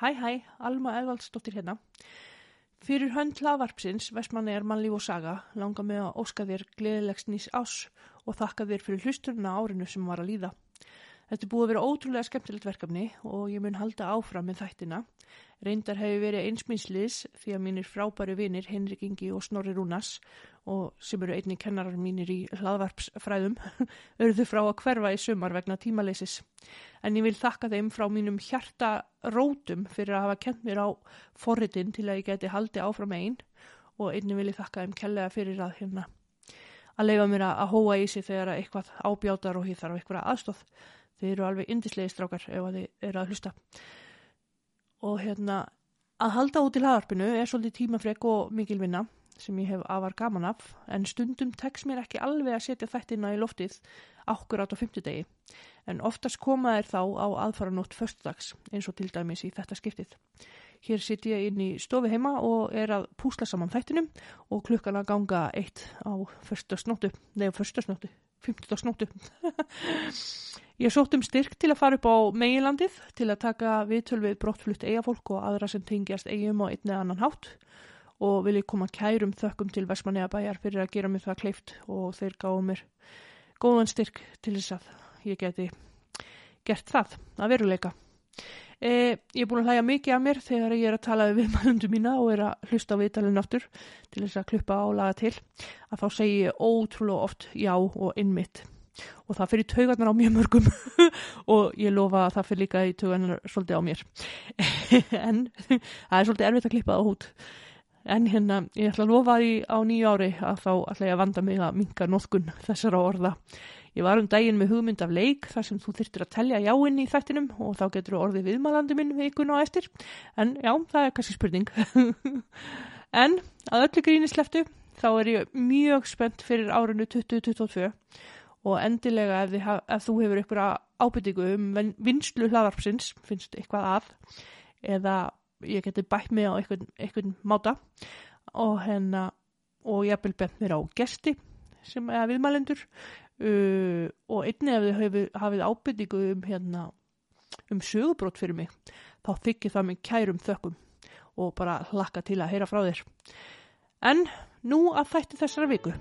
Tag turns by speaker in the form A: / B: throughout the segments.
A: Hæ hæ, Alma Eðvaldsdóttir hérna. Fyrir hönd lavarpsins, Vestmannegar mannlíf og saga, langar mig að óska þér gleðilegs nýs ás og þakka þér fyrir hlusturna á árinu sem var að líða. Þetta er búið að vera ótrúlega skemmtilegt verkefni og ég mun halda áfram með þættina. Reyndar hefur verið einsminsliðs því að mínir frábæru vinir Henrik Ingi og Snorri Rúnas og sem eru einni kennarar mínir í hlaðvarpsfræðum örðu frá að hverfa í sumar vegna tímaleysis. En ég vil þakka þeim frá mínum hjarta rótum fyrir að hafa kent mér á forritin til að ég geti haldi áfram einn og einni vil ég þakka þeim kellega fyrir að hérna að leifa mér að hóa í sig þegar að eitthvað ábjátar og ég þarf eitthvað aðstóð. Þið eru alveg indislegi strákar ef að þið eru að hlusta. Og hérna, að halda út í lagarpinu er svolítið tímafrek og mikil vinna sem ég hef afar gaman af, en stundum tekst mér ekki alveg að setja þættina í loftið ákkurat á fymtudegi, en oftast koma þær þá á aðfaranótt föstudags, eins og til dæmis í þetta skiptið. Hér sitt ég inn í stofi heima og er að púsla saman þættinum og klukkan að ganga eitt á föstudagsnóttu, nei á föstudagsnóttu, fymtudagsnóttu. Ég sótt um styrk til að fara upp á meilandið til að taka viðtöl við brottflutt eigafólk og aðra sem tengjast eigum á einn eða annan hátt og vil ég koma kærum þökkum til Vestmanneabæjar fyrir að gera mér það kleift og þeir gáðu mér góðan styrk til þess að ég geti gert það að veruleika. E, ég er búin að hlæja mikið að mér þegar ég er að tala við viðmælundu mína og er að hlusta á viðtalinn aftur til þess að kluppa og laga til að þá segi ég ótrúlega oft já og innmitt og það fyrir taugarnar á mjög mörgum og ég lofa að það fyrir líka í taugarnar svolítið á mér en það er svolítið erfitt að klippa það á hút en hérna ég ætla að lofa því á nýju ári að þá ætla ég að vanda mig að minga nóðkun þessara orða ég var um daginn með hugmynd af leik þar sem þú þyrtir að telja jáinn í þættinum og þá getur þú orðið viðmælandi minn vikuna á eftir en já, það er kannski spurning en að öllu gríni sleftu þá er ég mjög spennt fyrir árinu 2022 og endilega ef, haf, ef þú hefur einhverja ábyrtingu um vinslu hlaðarpsins, finnst eitthvað að eða ég geti bætt mig á einhvern, einhvern máta og hérna og ég vil bent mér á gesti sem er viðmælendur uh, og einni ef þið hefur, hafið ábyrtingu um hérna um sögubrót fyrir mig þá þykir það mig kærum þökkum og bara hlakka til að heyra frá þér en nú að þætti þessara viku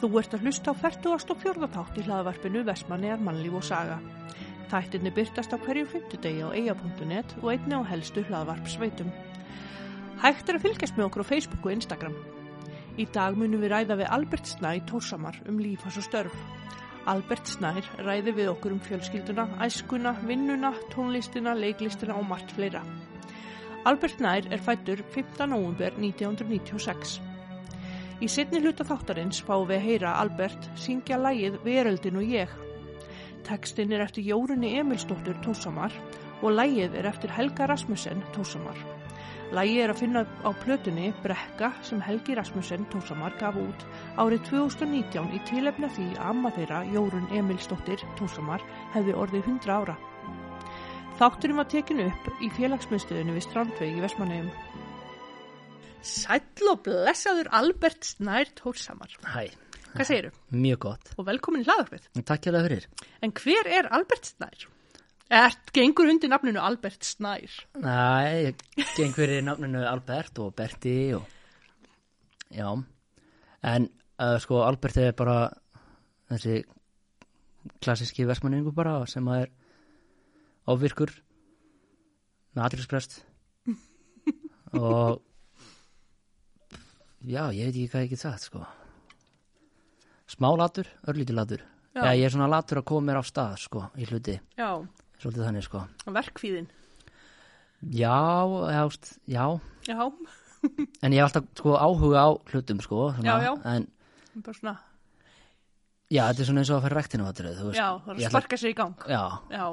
A: Þú ert að hlusta á 44. þátt í hlaðvarpinu Vesmanegar mannlíf og saga. Þættinni byrtast á hverju fymtudegi á eia.net og einni á helstu hlaðvarpsveitum. Hægt er að fylgjast með okkur á Facebook og Instagram. Í dag munum við ræða við Albert Snær Tórsamar um lífas og störf. Albert Snær ræði við okkur um fjölskylduna, æskuna, vinnuna, tónlistina, leiklistina og margt fleira. Albert Snær er fættur 15. óvunber 1996. Í setni hluta þáttarins fáum við að heyra Albert syngja lægið Veröldin og ég. Tekstinn er eftir Jórunni Emilsdóttur Tósamar og lægið er eftir Helga Rasmussen Tósamar. Lægið er að finna á plötunni Brekka sem Helgi Rasmussen Tósamar gaf út árið 2019 í tilefna því að amma þeirra Jórun Emilsdóttir Tósamar hefði orðið 100 ára. Þátturinn var tekinu upp í félagsmyndstöðinu við Strandvegi í Vesmanegum. Sæll og blessaður Albert Snær Tórsamar.
B: Hæ,
A: Hvað segiru?
B: mjög gott.
A: Og velkomin í hlaðarpið.
B: Takk hjá það fyrir.
A: En hver er Albert Snær? Ert gengur undir nafninu Albert Snær?
B: Næ, einhverju nafninu Albert og Berti og... Já, en uh, sko Albert er bara þessi klassíski versmanningu bara sem að er ofvirkur með atriðsprest og já, ég veit ekki hvað ég get sagt sko smá latur, örlítið latur
A: Já.
B: já. ég er svona latur að koma mér af stað sko, í hluti,
A: Já,
B: svolítið þannig sko
A: verkfíðin.
B: Já, já, st- já,
A: Já,
B: en ég hef alltaf sko áhuga á hlutum sko
A: Já, já.
B: En
A: bara svona,
B: já, þetta er svona eins og að fara rektinu aðrið, þú veist
A: já, það er að
B: sko. Ég ætla-
A: sparka sér í gang.
B: Já,
A: Já,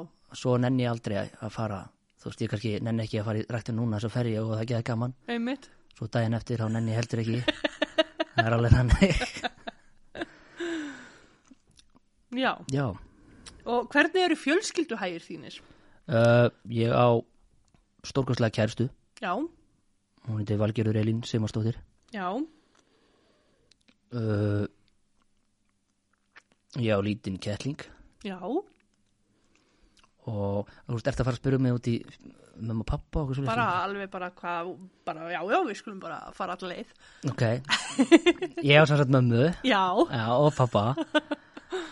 B: svo nenni ég aldrei að að fara Þú veist, ég kannski nenni ekki að fara í rektinu núna Svo fer ég og það geða gaman
A: einmitt.
B: Svo daginn eftir þá nenni ég heldur ekki Það er alveg þannig
A: Já,
B: Já,
A: og hvernig eru fjölskylduhægir þínir?
B: uh, ég á stórkostlega kærstu
A: Já,
B: Hún heitir Valgerður Elín Simarsdóttir
A: já,
B: uh, Ég á lítinn kettling
A: já,
B: og þú veist, ert að fara að spyrja mig út í mömmu og pappa og okkur svo
A: bara alveg bara hvað, bara já, já, við skulum bara fara alla leið.
B: Ok, ég á samsagt mömmu
A: Já,
B: já, og pappa.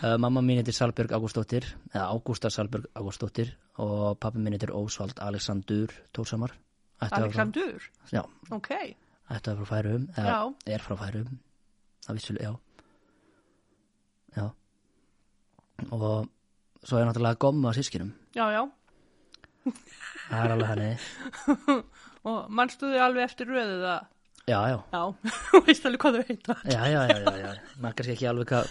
B: Uh, mamma mín heitir Salbjörg Ágústóttir, eða Ágústa Salbjörg Ágústóttir og pappi mín heitir Ósvald Alexandur Tórshamar. Ættu að vera frá-
A: Alexandur,
B: Já,
A: ok,
B: ættu að vera frá færum, eða
A: Já.
B: er frá færum, það vissulega, já. Já. Og svo er náttúrulega gomma á sískinum,
A: já, já,
B: það er alveg hannig.
A: og mannstu þau alveg eftir röðið að,
B: Já, já,
A: já, og veist alveg hvað þau heita.
B: já, já, já, já, já. maður kannski ekki alveg hvað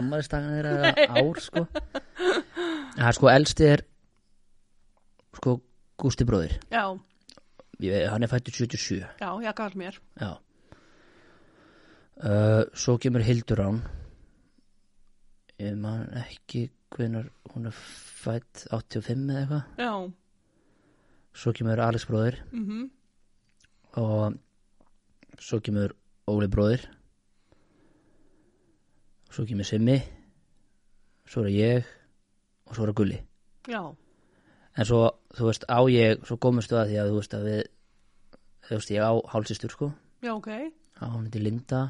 B: ammælistagan er eða ár, sko. Það er sko elsti er, sko, Gústi bróðir,
A: Já,
B: Ég- hann er fættur 77,
A: já, ég gaf mér,
B: já. Uh, svo kemur Hildur án, ég man ekki hvenar hún er fætt 85 eða eitthvað.
A: já,
B: Svo kemur Alex bróðir
A: mhm,
B: og svo kemur Óli bróðir svo kemur Simmi svo er ég og svo er Gulli
A: já,
B: en svo, þú veist, á ég svo komumstu að því að þú veist að við þú veist, ég á hálsistur sko
A: já, ok,
B: á hún heitir Linda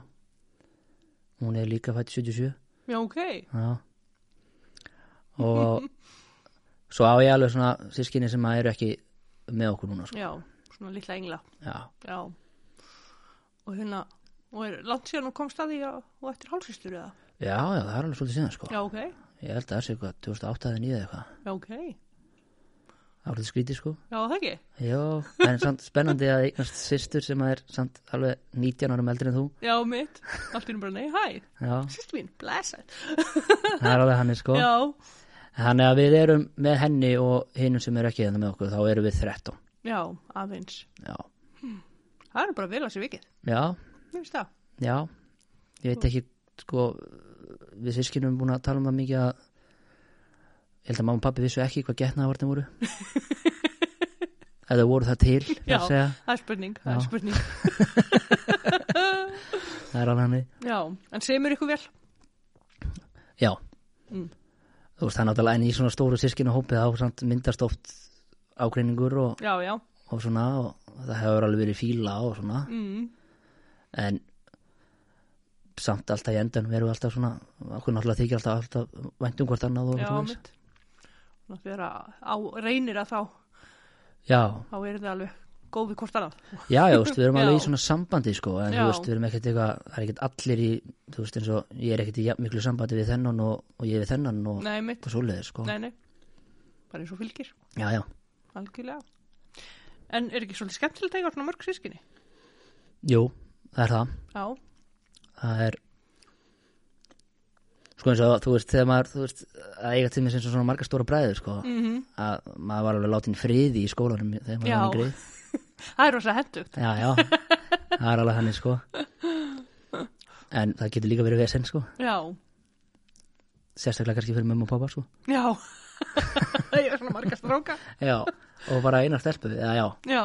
B: hún er líka fætt 77
A: já, ok,
B: já. og svo á ég alveg svona sískinni sem að eru ekki með okkur núna sko.
A: já, svona litla engla,
B: já,
A: já, og hérna, og er langt síðan hún komst að því að, og eftir hálsistur eða,
B: já, já, það er alveg svolítið síðan sko
A: já, ok,
B: Ég held að það sé eitthvað 2008 eða 2009 eða eitthvað.
A: já, ok,
B: Það var þetta skrítið sko.
A: já, það ekki,
B: Já, en samt spennandi að eignast sýstur sem er samt alveg 19 árum eldri en þú.
A: já, mitt, allt í einu bara, nei, hæ,
B: Já,
A: sýst mín, blessed,
B: það er alveg hann sko.
A: já,
B: Þannig að við erum með henni og hinnum sem eru ekki hérna með okkur, þá erum við 13.
A: já, aðeins,
B: Já,
A: það er bara vel að sér vikið,
B: já,
A: ég veist það,
B: já. Ég veit ekki, sko, við sískinum erum búin að tala um það mikið að ég held að mamma og pappi vissu ekki hvað getnaðvartin voru. Eða voru það til, það
A: Já.
B: að segja.
A: það er spurning, það er
B: Já.
A: spurning,
B: Það er alveg hann
A: já, en semur ykkur vel,
B: Já
A: Mm.
B: Þú veist, það er náttúrulega en í svona stóru sískinu hópi þá samt myndast oft ágreiningur og,
A: já, já,
B: og svona og það hefur alveg verið fíla og svona
A: mm,
B: en samt alltaf í endan verum við alltaf svona okkur náttúrulega þykir alltaf, alltaf væntum hvort annað og
A: já,
B: svona
A: mitt, þannig að þegar að á, reynir að þá,
B: Já,
A: þá er það alveg góð við hvort annað,
B: já, já, þú veist, við erum alveg
A: Já.
B: í svona sambandi sko, en
A: Já.
B: þú veist, við erum ekkert eitthvað það er ekkert allir í, þú veist, eins og ég er ekkert í jafn miklu sambandi við þennan og, og ég við þennan og,
A: nei, mitt,
B: og svoleiðir sko
A: nei, nei, bara eins og fylgir,
B: Já, já,
A: algjörlega, en er ekki svolítið skemmtilegt að eiga svona mörg sískinni,
B: jú, það er það
A: já,
B: það er sko eins og þú veist þegar maður þú veist að eiga til mér sem svona marga stóra bræður sko
A: mhm,
B: að maður var alveg látin friði í skólanum þegar maður
A: Já.
B: var yngri
A: það er rosa hendugt,
B: já já það er alveg þannig sko en það getur líka verið vesen sko
A: já,
B: sérstaklega kannski fyrir mömmu og pappa sko
A: já, eiga svona marga stróka,
B: já og bara einar stelpu eða já
A: já,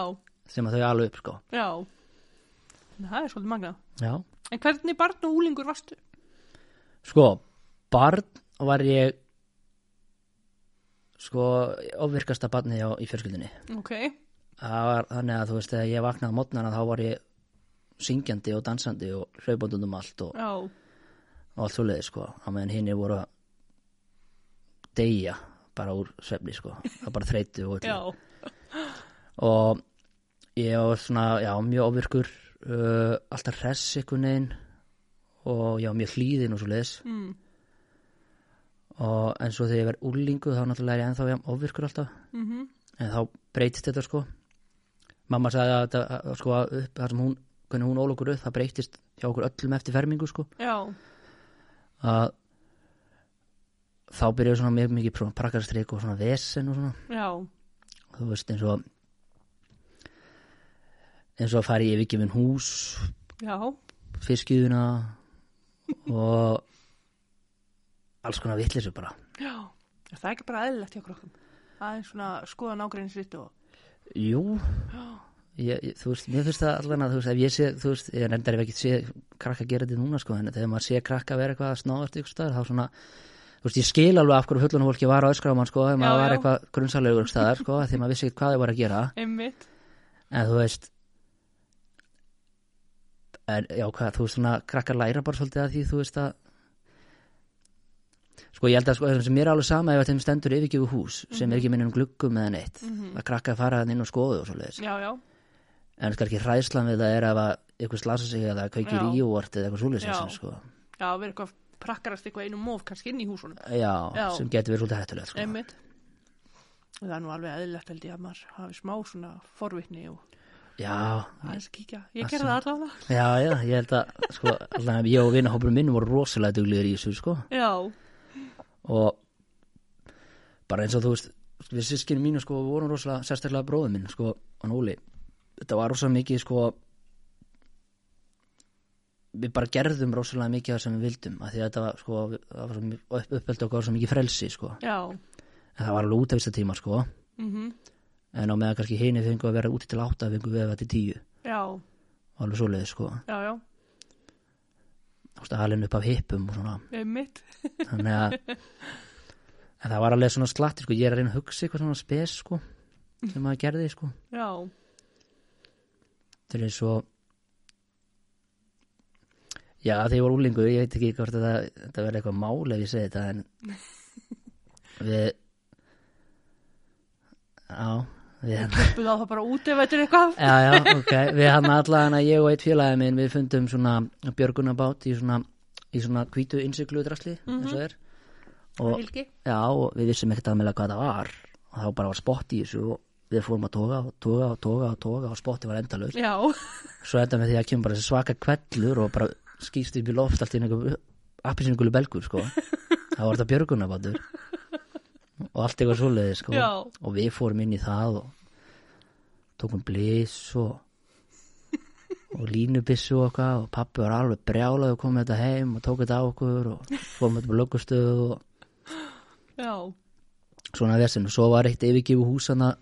B: sem að þau alveg upp sko
A: já, það er svolítið magnað.
B: já
A: En hvernig barn og úlingur varstu?
B: sko barn var ég sko ofvirkasta barnið á, í fjölskyldinni
A: Ok,
B: það var þannig að þú veist þegar ég vaknaði á mótnana þá var ég syngjandi og dansandi og hlaupandundum allt og,
A: já,
B: og allt svoleiði sko á meðan hinn er voru að deyja bara úr svefni sko það bara þreytu og,
A: já,
B: öllu. og ég var svona já, mjög ofvirkur uh, alltaf hress einhvern veginn og já, mjög hlýðin og svoleiðis
A: mm,
B: og en svo þegar ég verð úlingu þá náttúrulega er ég ennþá jafn ofvirkur alltaf
A: mm
B: en þá breytist þetta sko mamma sagði að, að, að sko að upp þar sem hún, hvernig hún ól okkur upp það breytist hjá okkur öllum eftir fermingu sko
A: já,
B: að þá byrjuðu svona mjög mikið svona prakkarstrik og svona vesen og svona
A: já,
B: þú veist eins og eins og að fara í yfirgefin hús
A: já,
B: fiskiðuna og alls konar vitleysu bara
A: já. Er það ekki bara eðlilegt hjá krokkum? Það er svona skoðan ágreinsvitt og...
B: Jú ég, ég, Þú veist, mér finnst það allan að þú veist, ef ég sé, þú veist, ég nefndar ef ekki sé krakka gera þetta núna sko, en þegar maður sé krakka vera eitthvað að snáðast ykkur staðar, þá svona, þú þú veist, ég skil alveg af hverju fullunafólki var á öskramann, sko, ef maður
A: Já,
B: var
A: já.
B: eitthvað grunnsalegur staðar, sko, af því maður vissi ekkert hvað þau var að gera
A: einmitt
B: en þú veist en já, hvað, þú veist, svona krakkar læra bara svolítið að því, þú veist að sko, ég held að sko, sem mér er alveg sama ef að þeim stendur yfirgjöfu hús sem er ekki minnum gluggum eða neitt
A: Mhm. Mm.
B: að krakkar fara hann inn og skoðu og svoleiðis
A: Já, já,
B: en kannski hræðslan við það er ef að eitthvað slasa sig eða kveikir
A: Já.
B: í óvart eða eitthvað
A: Já.
B: svoleiðis sko.
A: já, verið eitthvað prakkarast eitthvað einum móf kannski inn í húsunum
B: já,
A: Já.
B: sem getur verið svolítið hættulegt sko.
A: einmitt það er nú alveg eðlilegt held ég að maður hafi smá svona forvitni og
B: já,
A: aðeins kíkja ég gerði það allavega
B: já, já, ég held að sko, allan að ég og vinahópur minn voru rosalega duglegir í þessu sko.
A: já,
B: og bara eins og þú veist við sískinu mínu sko vorum rosalega sérstaklega bróðum minn sko, hann Óli þetta var rosalega mikið sko við bara gerðum rosalega mikið af það sem við vildum af því að þetta var sko það var svo mi- upp, uppeldi okkar var svo mikið frelsi sko
A: já
B: en það var alveg út af þess að tíma sko
A: mm
B: en á meðan kannski hini fengu að vera úti til átta fengu við að vera til tíu
A: já,
B: og alveg svoleiði sko
A: já, já,
B: Þú veist, alinn upp af hippum og svona
A: einmitt
B: þannig að en það var alveg svona slatti sko ég er að reyna að hugsa eitthvað svona spes sko sem maður gerði sko
A: já,
B: þetta er eins og já þegar ég var úlingur ég veit ekki hvort að það, þetta verði eitthvað mál ef ég segi þetta en við já við hann
A: buða það bara út ef þetta er eitthvað
B: já já ok við hann allan að ég og eitt félagi minn við fundum svona björgunabát í svona í svona hvítu innsiklu drasli eins og er og
A: Helgi,
B: já og við vissum ekkert að meðlega hvað það var og þá bara var spott í þessu og við fórum að toga og toga og toga og toga og spotti var endalaus
A: já,
B: svo enda með því að kemur bara þessi svaka kvellur og bara skýst upp í loft allt í einhver appisínugulu belgur sko það var þetta björgunabátur og allt eitthvað svoleiði sko
A: Já.
B: og við fórum inn í það og tókum blís og og línubissu og eitthvað og pappi var alveg brjálað og kom með þetta heim og tók þetta á okkur og fórum þetta með lögustöðu og
A: já
B: svona vesinn og svo var eitt yfirgefu hús hana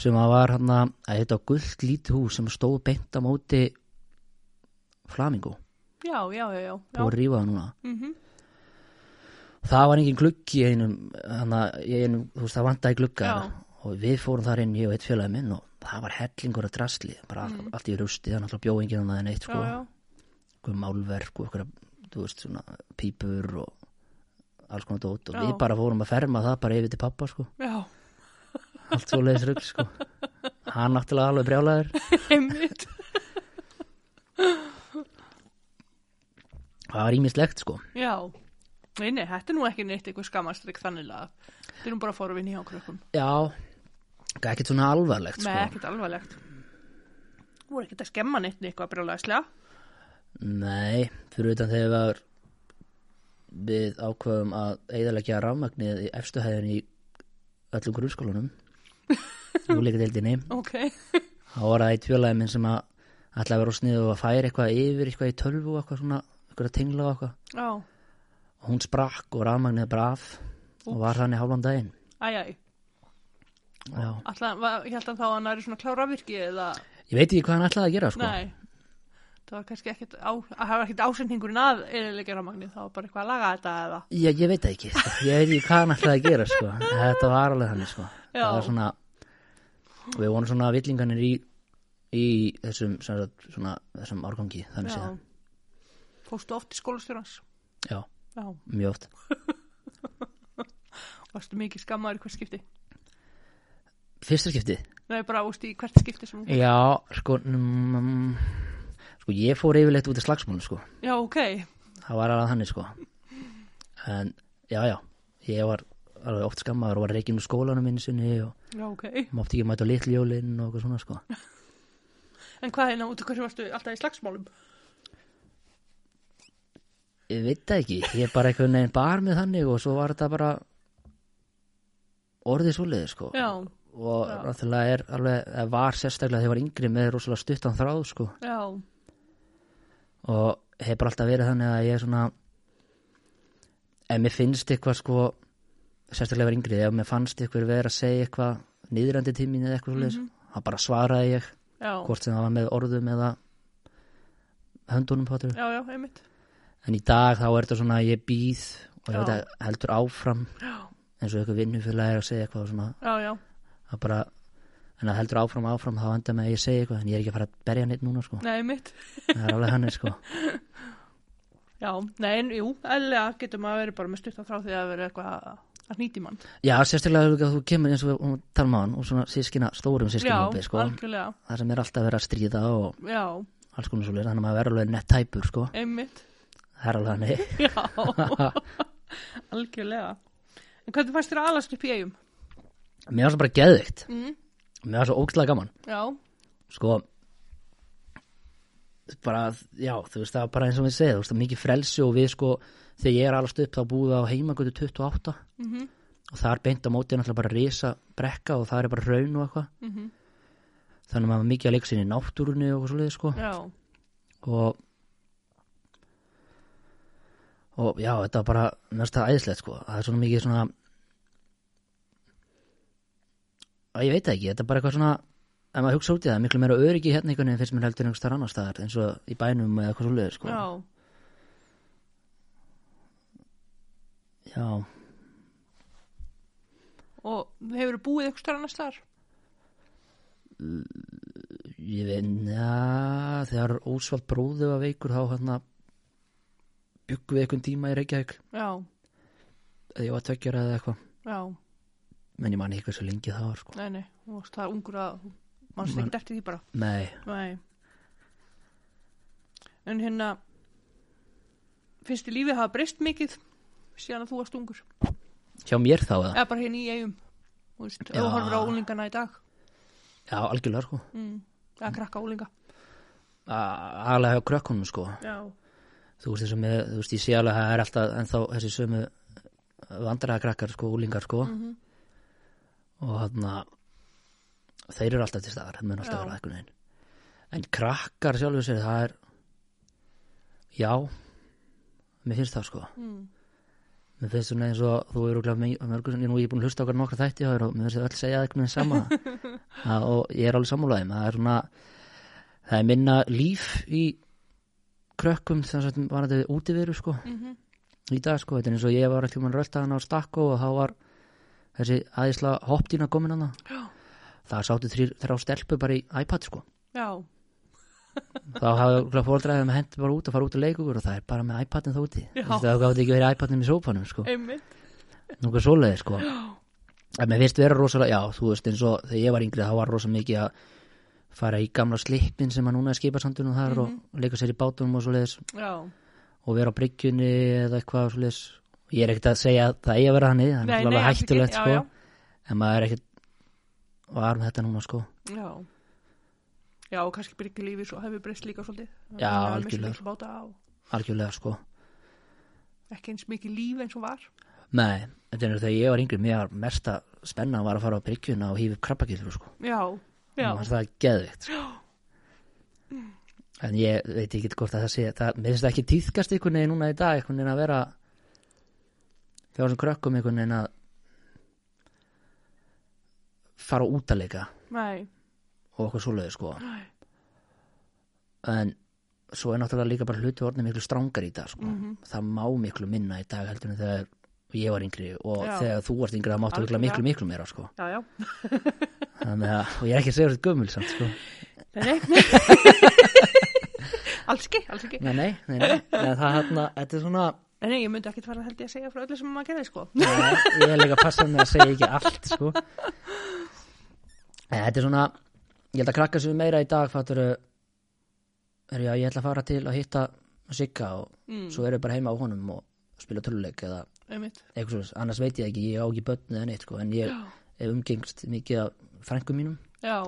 B: sem að var hana að þetta var gullt lítið hús sem stóð beint á móti flamingu
A: já, já, já, já, já.
B: og rífaði núna
A: Mm
B: það var engin gluggi í einum, hana, í einum þú veist það vantaði glugga
A: Já.
B: hana. og við fórum þar inn ég og eitt félagi minn og það var hellingur að drasli bara mm. allt í rusti, það náttúrulega bjóð enginn annað en eitt
A: já,
B: sko,
A: já,
B: einhver málverk og einhverja, þú veist svona pípur og alls konar dót og
A: Já.
B: við bara fórum að ferma það bara yfir til pappa sko
A: já,
B: allt svo leiðis rugg sko hann náttúrulega alveg brjálæður
A: einmitt
B: það var ímislegt sko
A: já, nei, nei, þetta er nú ekki neitt eitthvað skammastrygg þannig að þetta er nú bara forvinn hjá krökkum
B: já, ekkert svona alvarlegt
A: Nei,
B: sko
A: ekkert alvarlegt. Þú voru ekkert að skemma neitt neitt eitthvað brjóðlega
B: nei, fyrir utan þegar var við ákveðum að eigðalegja rafmagnið í efstu hæðin í öllum grunnskólanum úlíka deildinni
A: Ok,
B: þá var það eitt fjölaði minn sem að ætlaði að vera á sniðu og að færa eitthvað yfir eitthvað í tölvu og eitthvað svona, eitthvað að tengla og eitthvað
A: já,
B: og hún sprakk og rafmagnið bara af og var þannig hálfan daginn
A: æjæj.
B: já.
A: Alltaf, var- ég held að þá að hann er svona klára virki eða,
B: ég veit ekki hvað hann ætlaði að gera sko
A: nei, það var kannski ekkert, á, að hafa ekkert ásendingurinn að eðilegja rafmagnið, það var bara eitthvað að laga þetta eða,
B: Já, ég veit það ekki, sko. ég veit ekki hvað hann ætlaði að gera sko. En þetta var alveg þannig sko.
A: Já.
B: það var svona við vorum svona villinganir í í þessum, sem sagt, svona, þessum árgangi þannig séð,
A: já. Fóstu oft í skólastjórnans?
B: já,
A: Já,
B: mjög oft
A: varstu mikið skammaður í hvert skipti?
B: fyrsta skiptið,
A: Nei, bara, veist, í hvert skipti sem,
B: já, sko mm, sko, ég fór yfirleitt út í slagsmálum, sko,
A: já, ok,
B: það var alveg þannig sko. en, já, já ég var alveg oft skammaður og var reikinn úr skólanum minni sinni og
A: já, ok.
B: mátti ekki mæta á litlu jólin og eitthvað svona, sko
A: En hvað hérna út og hverju varstu alltaf í slagsmálum?
B: Ég veit það ekki, ég bara einhvern veginn bar með þannig og svo var þetta bara orðið svoleiði sko
A: Já,
B: og
A: já.
B: náttúrulega er alveg, eða var sérstaklega þegar ég var yngri með rosalega stuttan þráð sko
A: já,
B: og hefur bara alltaf verið þannig að ég er svona ef mér finnst eitthvað sko sérstaklega verið yngri, ef mér fannst eitthvað verið að segja eitthvað niðrandi tímin eða eitthvað
A: Mhm.
B: svoleiðis, þá bara svaraði ég
A: já,
B: hvort sem það var með orðum eða höndunum pátur
A: já, já, einmitt,
B: en í dag þá er þetta svona að ég býð og ég
A: Já.
B: veit að heldur áfram
A: Já.
B: eins og eitthvað vinnufélagi er að segja eitthvað og svona,
A: já, já,
B: að bara en að heldur áfram áfram þá enda með að ég segja eitthvað en ég er ekki að fara að berja neitt núna sko
A: nei mitt
B: það er alveg hann sko
A: já, nei, en jú, eðlilega getur maður að vera bara með stuttan frá því að vera eitthvað að nýti mann
B: já, sérstaklega líka að þú kemur eins og við talum á hann og svona sískina, stórum
A: já,
B: sískinahópi sko
A: algjörlega,
B: það sem er alltaf verið að stríða og
A: já,
B: alls konar svolítið þannig að maður verður alveg nett tæpur sko
A: einmitt
B: það er alveg hann
A: já, algjörlega en hvernig fannst þér að alast upp í eigum?
B: mér var svo bara geðvikt
A: Mm,
B: mér var svo ógstlega gaman
A: já,
B: sko bara, já, þú veist það var bara eins og við segja, þú veist það var mikið frelsi og við sko, þegar ég er allast upp þá búið á heimagötu 28
A: mhm,
B: og það er beint á móti náttúrulega bara risa brekka og það er bara raun og eitthvað
A: mhm
B: þannig að maður var mikið að leika sinni í náttúrunni og svo sko
A: já,
B: og og já, þetta var bara mérst það æðislegt sko, það er svona mikið svona að ég veit það ekki, þetta er bara eitthvað svona ef maður hugsa út í það, miklu meira öryggi hérna einhvern veginn finnst mér heldur einhvers þar annar staðar eins og í bænum eða eitthvað svoleiðis sko
A: já
B: já,
A: og hefur búið eitthvað stöðar annars þar?
B: ég veit, já þegar Ósvald bróðu var veikur þá hérna byggum við einhvern tíma í Reykjavík
A: Já,
B: eða ég var tveggjara eða eitthvað
A: já,
B: menn ég man ekki hversu lengi það var sko
A: nei, nei, þú varst það ungur að þú mannst
B: Man-
A: ekkert eftir því bara.
B: nei,
A: Nei. En hérna, finnst þið lífið hafa breyst mikið síðan að þú varst ungur?
B: hjá mér þá eða
A: Eða bara hérna í eigum, þú veist, ef
B: Já.
A: þú horfir á úlingana í dag,
B: já, algjörlega sko
A: mm. eða krakka úlinga.
B: aðalega hjá krökkunum sko
A: Já,
B: þú veist eins og með, þú veist ég sé alveg að það er alltaf ennþá þessi sömu vandræða krakkar sko, úlingar sko
A: Mhm.
B: og hann þeir eru alltaf til staðar, það mun alltaf
A: Já.
B: vera eitthvað neginn en krakkar sjálfur sér það er já mér finnst það sko
A: mm.
B: mér finnst svona eins og þú eru glæð mörgur nú ég er búin að hlusta okkar nokkra þætti hjá þér og mér finnst þið öll segja eitthvað sama það, og ég er alveg sammálaðið það er svona það er minna líf í krökkum þannig að var þetta útiveru sko
A: Mm -hmm.
B: í dag sko, þetta er eins og ég var alltaf mann röldaðan á stakko og þá var þessi aðeinsla hoppdýna komin hana
A: Já.
B: það sáttu þrjá, þrjá stelpu bara í iPad sko
A: já,
B: þá hafði fóldraðið með hendi bara út og fara út að leika ykkur og það er bara með iPadin þá úti
A: Já. Eh.
B: Þú veist, það gáði ekki verið iPadin í sópanum sko
A: einmitt.
B: Núka svoleiði sko En mér finnst vera rosalega, já, þú veist eins og þegar ég var yngri þá var rosa mikið að fara í gamla slippin sem að núna er skipasandunum þar
A: Mhm.
B: og leika sér í bátunum og svoleiðis
A: Já,
B: og vera á bryggjunni eða eitthvað svoleiðis Ég er ekkert að segja að það eigi að vera hannig, það er
A: Nei,
B: náttúrulega
A: nei,
B: alveg
A: alls ekki,
B: hættulegt
A: já,
B: sko
A: já.
B: En maður er ekkert var með þetta núna sko
A: já. Já, og kannski byrgir lífið svo hefur breyst líka svolítið.
B: Já,
A: Það er misst
B: algjörlega.
A: mikið báta og
B: Algjörlega sko
A: ekki eins mikið líf eins og var.
B: Nei, þetta er þegar ég var yngri mér var mesta spenna var að fara á bryggjuna og hýfa upp krabbakilur sko
A: Já, já.
B: Mér fannst það geðvikt sko. En ég veit ekki hvort að það sé það, Mér finnst það ekki týðkast einhvern veginn núna í dag einhvern veginn að vera hjá þessum krökkum einhvern veginn að fara út að leika
A: Nei,
B: og okkur svoleiði sko
A: Nei.
B: En svo er náttúrulega líka bara hluti orðin miklu strangar í dag sko
A: Mhm.
B: Það má miklu minna í dag heldur en þegar ég var yngri og
A: Já.
B: þegar þú varst yngri það máttu miklu,
A: Algjörlega.
B: miklu, miklu meira sko
A: já, já.
B: Þannig að, og ég er ekki að segja þetta gömul samt sko
A: Nei, nei. alls ekki, alls ekki.
B: Nei, nei, nei, nei. nei það hérna, þetta er svona
A: Nei, nei, ég myndi ekkit fara held ég að segja frá öllu sem maður gerði, sko.
B: Nei, ég er líka að passa mig að segja ekki allt sko. Nei, Þetta er svona ég held að krakka sem meira í dag fattur er já, ég ætla að fara til að hitta Sigga og
A: Mm.
B: svo eru bara heima á honum og spila töluleik eða
A: Einmitt.
B: eitthvað svo, annars veit ég ekki, ég á ekki börn eða neitt sko, en ég hef umgengst mikið af frængum mínum
A: Já,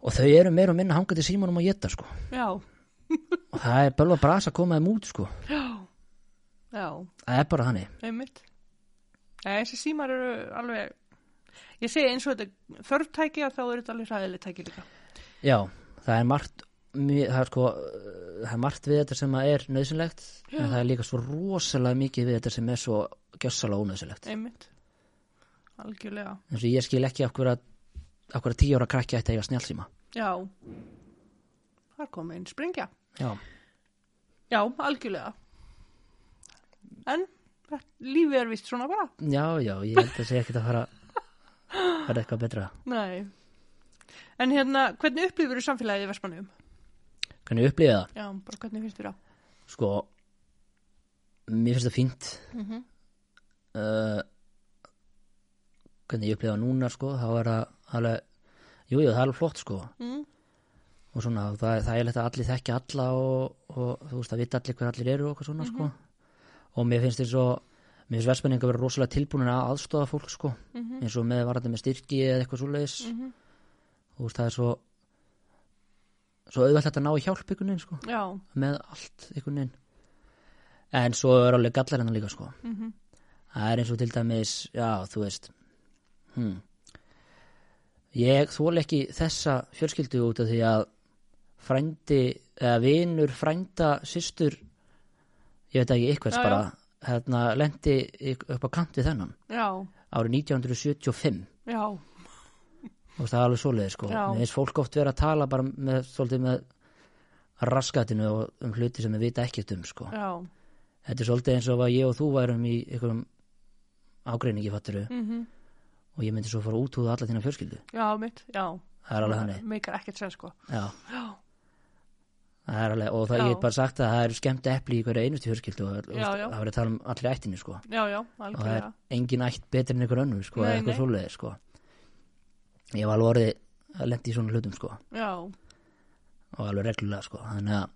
B: og þau eru meira og minna hangað til símanum og geta sko,
A: já,
B: og það er bölva brasa að koma þeim út sko,
A: já, já,
B: það er bara hannig
A: einmitt. Nei, þessi símar eru alveg, ég segi eins og þetta þörftæki að þá eru þetta alveg hræðileg tæki líka.
B: Já, það er margt mjög, það, er sko, uh, það er margt við þetta sem að er nöðsynlegt en það er líka svo rosalega mikið við þetta sem er svo gjössalega ónöðsynlegt
A: Einmitt. Algjörlega.
B: eins og ég skil ekki af hverja af hverja tíu ára krakki ætti að eiga snjálsíma
A: Já. Það er komið einn springja.
B: Já,
A: Já, algjörlega. En þetta- lífið er vist svona bara.
B: já, já, ég held að segja ekkert að fara fara eitthvað betra
A: Nei. En hérna, hvernig upplifur samfélagið í Vestmannum?
B: hvernig ég upplýði það,
A: Já, bara hvernig finnst þér á?
B: sko mér finnst það fínt
A: Mhm.
B: uh, hvernig ég upplýði það núna sko, þá er það alveg jú, jú, það er alveg flott sko
A: Mm.
B: og svona, það, það er lett að allir þekki alla og, og þú veist, það vita allir hver allir eru og eitthvað svona
A: Mhm.
B: sko og mér finnst þér svo, mér finnst verspenninga vera rosalega tilbúin að aðstofa fólk sko
A: Mhm.
B: eins og með varandi með styrki eða eitthvað svoleiðis
A: Mhm.
B: þú veist, það er svo svo auðvægt þetta ná í hjálp einhvern veginn sko
A: Já,
B: með allt einhvern veginn en svo er alveg gallar hennar líka sko
A: Mhm.
B: það er eins og til dæmis já þú veist hmm. ég þóla ekki þessa fjölskyldu út af því að frændi eða vinur frænda systur ég veit ekki eitthvað
A: Já,
B: bara hérna lendi upp á kant við þennan
A: já,
B: árið 1975
A: já,
B: og það er alveg svoleiði sko
A: Já.
B: mér finnst fólk oft vera að tala bara með svolítið með raskatinu og um hluti sem við vita ekkert um sko
A: já.
B: þetta er svolítið eins og að ég og þú værum í einhverjum ágreiningi fatturu
A: Mm
B: og ég myndi svo fara út úr alla þína fjörskildu
A: Já, mitt, já.
B: það er alveg hannig
A: Meikar ekkert sér, sko.
B: já.
A: Já,
B: það er alveg, og það
A: Já.
B: ég get bara sagt að það eru skemmt epli í hverja einustu fjörskildu og
A: Já,
B: það
A: já.
B: verður að tala um allir ættinni sko
A: já, já,
B: og það
A: algjörlega.
B: er engin ætt betri en einhver önnur sko,
A: Nei,
B: eða
A: nei.
B: eitthvað svoleiði sko ég var alveg orðið að lendi í svona hlutum sko
A: Já,
B: og alveg reglulega sko þannig að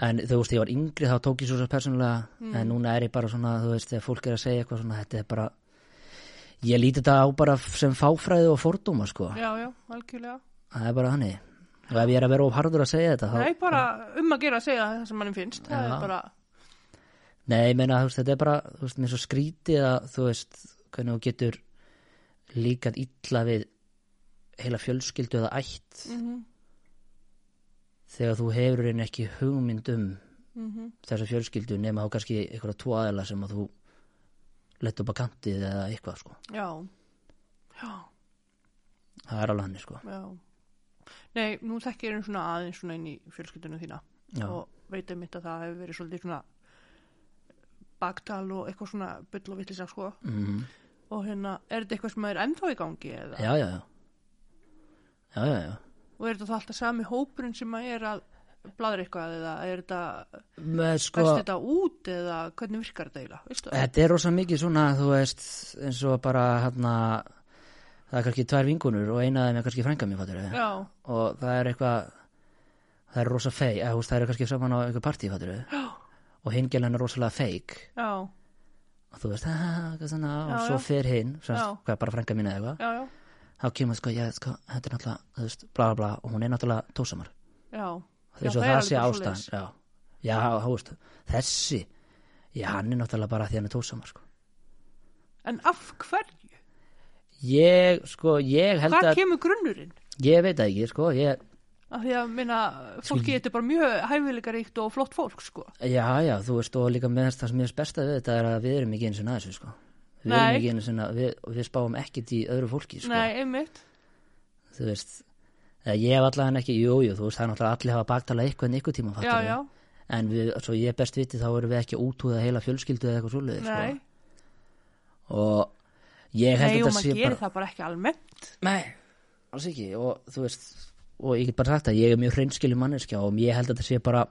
B: en þú veist, ég var yngri þá tók ég svo svo persónulega en núna er ég bara svona, þú veist, þegar fólk er að segja eitthvað svona, þetta er bara ég líti þetta á bara f- sem fáfræði og fordóma sko,
A: já, já, algjörlega.
B: það er bara hannig og ef ég er að vera of harður að segja þetta þá,
A: Nei, bara um að gera að segja það sem mannum finnst. Það
B: Já.
A: er bara,
B: nei, ég meina, þú veist, þetta er bara þú veist, mér svo skrítið að, þú veist hvernig þú getur líkað illa við heila fjölskyldu eða ætt
A: mm
B: þegar þú hefur einn ekki hugmynd um
A: Mhm.
B: þessa fjölskyldu nema þá kannski einhverja tvo aðeila sem að þú lett upp að kantið eða eitthvað sko.
A: já, já,
B: það er alveg hann sko.
A: já. Nei, nú þekki ég einu svona aðeins svona inn í fjölskyldunum þína
B: Já.
A: og veit einmitt að það hefur verið svolítið svona baktal og eitthvað svona bull og vittlisa, sko.
B: mm.
A: Og hérna, er þetta eitthvað sem er ennþá í gangi eða?
B: já, já, já já, já, já
A: Og er þetta þá alltaf sami hópurinn sem að er að bladra eitthvað eða er þetta,
B: Með, sko, Eh.
A: best þetta út eða hvernig virkar þetta eiginlega, veistu?
B: þetta er rosa mikið svona þú veist eins og bara hérna það er kannski tvær vingunur og eina af þeim er kannski frænga mér fattur
A: Já,
B: og það er eitthvað það er rosa feik, eða, þú veist, það er kannski saman á einhver partí fattur og hingjalinn er rosalega feik
A: já,
B: og þú veist, "Ah, eitthvað svona, og
A: Já,
B: svo
A: já.
B: fer hinn sem
A: Já.
B: sagt, hvað er bara frænga mín eða eitthvað
A: já, já,
B: þá kemur sko, ég, sko, þetta er náttúrulega, þú veist, bla bla bla og hún er náttúrulega tósamar
A: já.
B: þess
A: Já,
B: að
A: er
B: það
A: alveg
B: sé
A: bara
B: ástæðan
A: svoleiðis.
B: já, já, þú veist, þessi já, hann er náttúrulega bara því hann er tósamar sko.
A: En af hverju?
B: ég, sko, ég held
A: Hvað
B: að
A: kemur grunnurinn?
B: ég veit það ekki, sko, ég
A: Af því að minna, fólki þetta er bara mjög hæfileikaríkt og flott fólk, sko.
B: já, já, þú veist, og líka með þess það sem ég er besta við þetta er að við erum ekki eins og næðis sko. við
A: Nei.
B: erum ekki eins og við, og við spáum ekkit í öðru fólki, sko,
A: Nei, einmitt.
B: þú veist eða ég hef allan ekki, jú, jú, þú veist, það er náttúrulega allir hafa baktala eitthvað en eitthvað tíma,
A: Já, já,
B: en við, svo ég best viti þá erum við ekki að útúða heila fjölskyldu eða eitthvað svoleiðis
A: nei.
B: sko. og ég held
A: Nei,
B: að
A: og
B: þetta sé
A: maður gerir
B: bara
A: það bara ekki almennt.
B: nei, alls ekki og þú veist, og ég get bara sagt að ég er mjög hreinskilin manneskja og ég held að þetta sé bara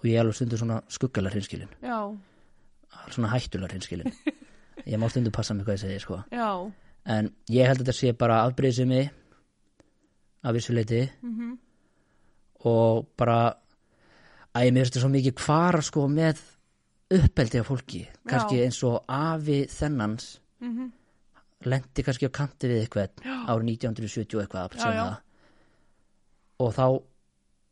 B: og ég er alveg stundu svona skuggalega hreinskilin
A: Já,
B: svona hættulega hreinskilin ég má stundu passa mig hvað ég segi sko
A: já,
B: en ég held að þetta sé bara afbreyðsimi af vissu leiti -hmm.
A: Mhm.
B: og bara að ég mér finnst þetta svo mikið kvara sko með uppeldi af fólki kannski eins og afi þennans mm
A: Mhm.
B: -hmm. lendi kannski á kanti við eitthvað árið 1970 og eitthvað
A: Já,
B: sem
A: já.
B: það. og þá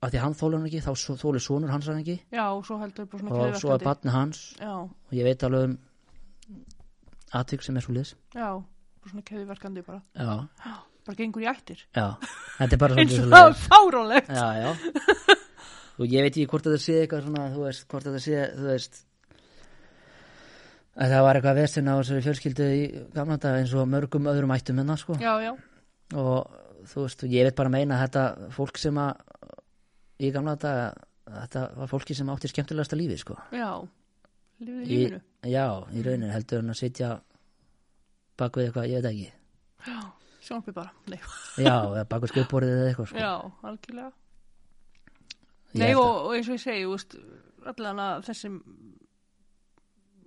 B: af því að hann þólar hann ekki, þá þólar sonur hans hann ekki
A: já, og svo heldur bara svona
B: og svo er
A: keðjuverkandi.
B: batni hans
A: Já,
B: og ég veit alveg um atvik sem er svo liðs
A: já, bara svona keðiverkandi bara.
B: já,
A: Bara gengur í ættir.
B: já, þetta er bara
A: Eins
B: svolítið
A: og það
B: svoleiðis.
A: er fáránlegt.
B: já, já og ég veit ekki hvort þetta sé eitthvað svona þú veist, hvort þetta sé, þú veist að það var eitthvað vesinn á þessari fjölskyldu í gamla dag eins og mörgum öðrum ættum hennar sko
A: Já, já,
B: og þú veist, og ég veit bara meina að þetta fólk sem að í gamla dag þetta var fólki sem átti skemmtilegasta lífi sko
A: já. Lifið
B: Í-
A: lífinu.
B: já, í raunin heldur hann að sitja bak við eitthvað, ég veit ekki
A: Já, sjónarpið bara. Nei,
B: já, eða bak við skjöpborðið eða eitthvað sko.
A: já, algjörlega.
B: Ég
A: Nei,
B: held að-
A: og, og eins og ég segi, þú veist, allan að þessi,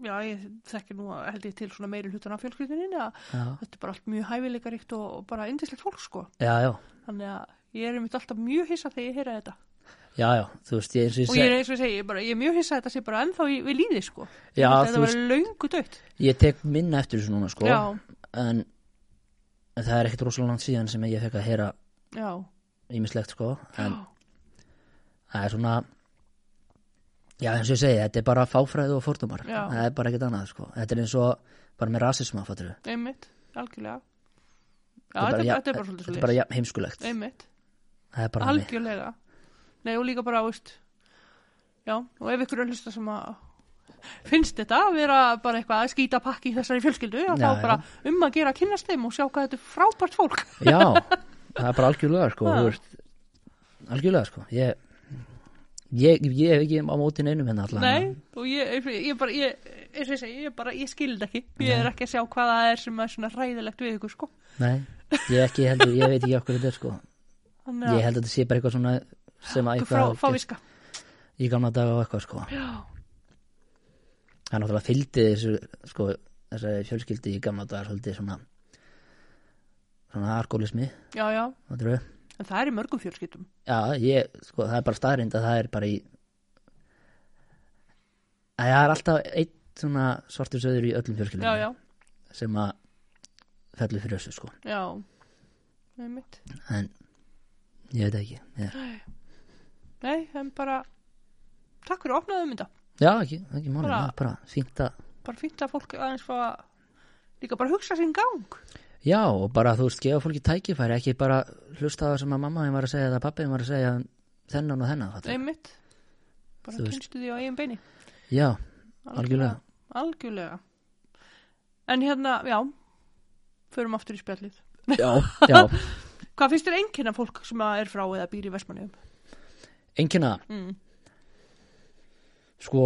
A: já, ég þekki nú að held ég til svona meiri hlutan af fjölskylduninni að
B: já,
A: þetta er bara allt mjög hæfileikaríkt og, og bara indislegt fólk, sko.
B: já, já,
A: Þannig að ég er einmitt alltaf mjög hissa þegar ég heyra þetta.
B: já, já, þú veist ég eins og ég
A: Og ég
B: seg-
A: er eins og ég segi, ég, er bara, ég er mjög hissa að þetta sé bara ennþá í, við líði, sko. Ég
B: Já,
A: held að
B: þú
A: þetta var löngu dött.
B: Ég tek minna eftir þessu núna sko
A: Já,
B: en, en það er ekkit rosalega langt síðan sem ég fekk að heyra
A: já,
B: ímislegt sko en
A: Já.
B: það er svona já eins og ég segi, þetta er bara fáfræðu og fórtumar
A: Já.
B: það er bara ekkit annað sko þetta er eins og bara með rasisma fattur
A: einmitt, algjörlega. Já, þetta, þetta er bara svolítið
B: þetta
A: svolítið.
B: er bara jafn heimskulegt
A: Einmitt.
B: það er bara þannig.
A: algjörlega Nei og líka bara, veist Já, og ef ykkur er að hlusta sem að finnst þetta að vera bara eitthvað að skýta pakki í þessari fjölskyldu já,
B: Já,
A: þá
B: já.
A: bara um að gera að kynnast þeim og sjá hvað þetta er frábært fólk
B: já, það er bara algjörlega sko
A: Já.
B: þú veist, algjörlega sko ég Ég, ég hef ekki á móti neinum hérna allan
A: Nei, og ég, ég, ég bara ég, eins og ég segi, ég bara, ég skildi ekki ég er ekki að sjá hvað það er sem er svona ræðilegt við ykkur, sko
B: Nei, ég ekki heldur, ég veit ekki okkur þetta er sko
A: Þannig
B: Ég held að þetta sé bara eitthvað svona sem að
A: að
B: eitthvað
A: frá,
B: hafi gerst
A: fáviska
B: í gamla daga og eitthvað sko
A: Já,
B: Það er náttúrulega fylgdi þessu sko þessari fjölskyldi í gamla daga svolítið svona svona alkoholismi
A: já, já,
B: fattarðu?
A: en það er í mörgum fjölskyldum
B: Já, ég, sko, það er bara staðrind að það er bara í að það er alltaf einn svona svartur söður í öllum
A: Já, já,
B: fjölskyldum sem að fellur fyrir þessu sko
A: já Einmitt
B: en ég veit ekki ég,
A: Nei, en bara Takk fyrir að opnaðum þetta
B: Já, ekki, ekki máli,
A: Bara-
B: það er bara fínt að
A: bara fínt að fólk aðeins fá að líka bara hugsa sinn gang
B: Já, og bara þú veist, gefa fólki tækifæri, ekki bara hlusta á það sem að mamma þín var að segja eða pappi þín var að segja um þennan og þennan. fattar þú?
A: einmitt bara
B: Þú veist.
A: kynstu því á eigin beini
B: Já, algjörlega.
A: algjörlega en hérna, já förum aftur í spjallið
B: Já, já.
A: hvað finnst þér einkenna fólk sem að er frá eða býr í Vestmanniðum?
B: Engina,
A: Mm.
B: sko,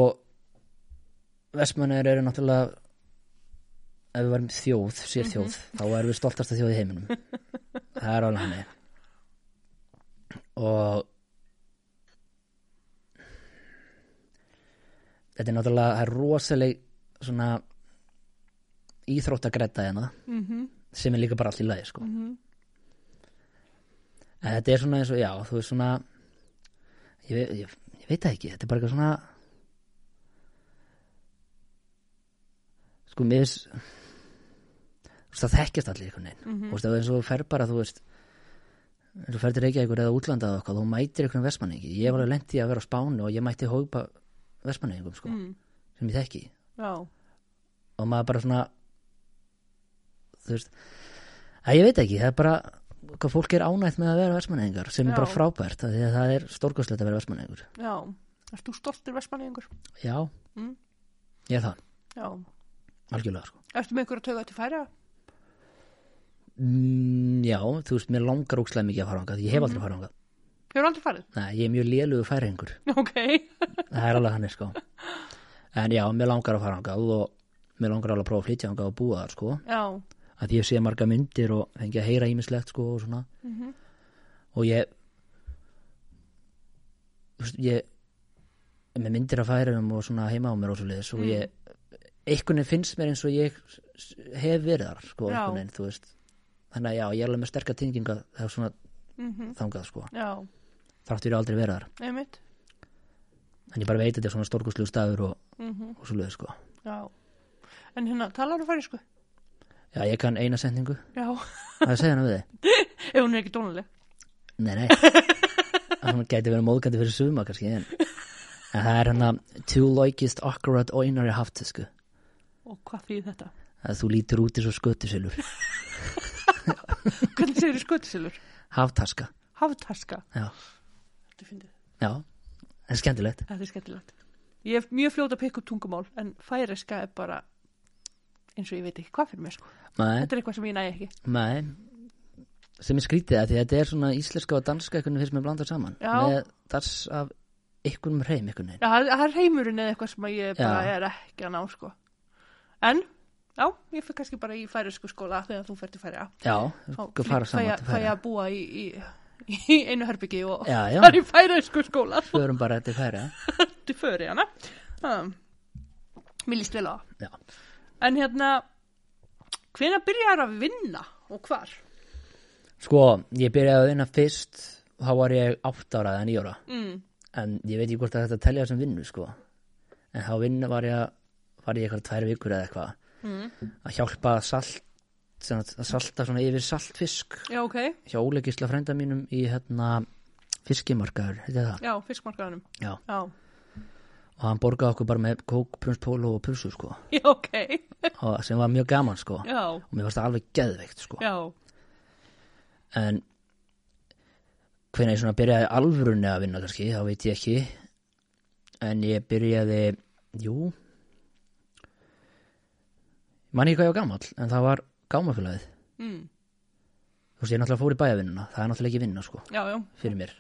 B: vestmannir eru náttúrulega, ef við varum þjóð, sér þjóð, þá erum við stoltasta þjóð í heiminum. það er alveg hann. Og þetta er náttúrulega, það er rosaleg svona íþróttagræta hérna.
A: Mm -hmm.
B: sem er líka bara allt í lagi sko. en þetta er svona eins og já, þú veist svona ég, ve- ég, ég veit það ekki þetta er bara eitthvað svona sko mér finnst- þú veist það þekkjast allir einhvern veginn mm -hmm. veist, það er eins og þú fer bara þú veist eins og þú fer til Reykjavíkur eða útlandað okkar þú mætir einhvern versmanningi ég var alveg lent í að vera á Spáni og ég mætti hópa versmanningum sko,
A: Mm.
B: sem ég þekki
A: já,
B: og maður bara svona þú veist að ég veit ekki, það er bara hvað fólk er ánægt með að vera versmanneðingar sem
A: Já.
B: er bara frábært, af því að það er stórkostlegt að vera versmanneðingur
A: já Erst þú stoltur Vestmanniðingur?
B: já,
A: Mm.
B: ég er það,
A: Já.
B: algjörlega sko.
A: Ertu með einhverju að tauga til færa?
B: mm, já, þú veist, mér langar ókslega mikið að fara hangað, ég hef
A: Mhm.
B: aldrei farað hangað
A: Hefur aldrei farið?
B: nei, ég er mjög lélugu færingur
A: Ok.
B: það er alveg hann sko. en já, mér langar að fara hangað og mér langar alveg að prófa að flytja hangað og búa þar sko.
A: Já.
B: að ég sé marga myndir og fengi að heyra ímislegt sko og svona
A: Mhm.
B: og ég þú veist, ég er með myndir að færa um og svona heima á mér og svo liðis
A: Mm.
B: og ég einhvern veginn finnst mér eins og ég s- hef verið þar sko
A: Já.
B: einhvern veginn, þú veist þannig að já, ég er alveg með sterka tenginga þegar svona
A: Mm -hmm.
B: þangað sko
A: Já,
B: þrátt fyrir aldrei verið þar
A: einmitt.
B: en ég bara veit að þetta er svona stórkustlegu staður og,
A: Mm
B: og svo liðis sko
A: Já. En hérna, talar þú færisku?
B: já, ég kann eina setningu
A: Já.
B: að segja hana við þið
A: Ef hún er ekki dónuleg.
B: Nei, nei Það gæti verið móðgæti fyrir suma kannski en, en það er hann að Tú loikist akkurat oinar í haftisku
A: Og hvað þýð þetta?
B: að þú lítur út eins og skötusilur
A: Hvernig segir þið skötisilur?
B: Haftaska,
A: Haftaska.
B: já,
A: Þetta er fyndið.
B: já En skemmtilegt
A: Þetta er skemmtilegt. Ég er mjög fljóta að pikka upp tungumál, en færiska er bara eins og ég veit ekki hvað fyrir mér, sko.
B: Nei,
A: Þetta er eitthvað sem ég næ ekki.
B: nei sem er skrítið að því þetta er svona íslenska og danska einhvern veginn fyrst með blandar saman
A: Já.
B: með dans af ykkur um reym ykkur neginn.
A: Já, það er- það er heimurinn eða eitthvað sem að ég bara
B: Já.
A: er ekki að ná, sko. En, já, ég fyrir kannski bara í færisku skóla þegar þú ferð til færiða.
B: Já, ykkur fara saman til
A: Fæ ég
B: færa.
A: að búa í, í, í einu herbyggi og
B: Já, já,
A: það er í færisku skóla svo
B: förum bara til færa.
A: til fyrir hana. Um, mér líst vel á það.
B: Já.
A: En hérna, hvenær byrjar að vinna og hvar?
B: Sko, ég byrjaði að vinna fyrst og þá var ég átt ára eða 9 ára
A: Mm,
B: en ég veit ekki hvort að þetta telja sem vinnu sko. en þá vinnu var ég var ég eitthvað tvær vikur eða eitthvað
A: Mm.
B: að hjálpa að salt sem sagt, að salta svona yfir saltfisk
A: já, ok,
B: hjá Óle Gísla frænda mínum í hérna fiskimarkaður, heitir það
A: já, fiskmarkaðanum.
B: Já.
A: Já,
B: og hann borgaði okkur bara með kók, prunspólu og pulsu sko.
A: já, ok,
B: og, sem var mjög gaman sko.
A: já,
B: og mér varst það alveg geðveikt sko.
A: já,
B: en hvernig ég svona byrjaði alvörunni að vinna kannski, þá veit ég ekki en ég byrjaði jú mann ekki hvað ég var gamall en það var gámafélagið
A: mm,
B: þú veist ég náttúrulega fór í bæjavinnuna, það er náttúrulega ekki vinna sko,
A: já, já,
B: fyrir mér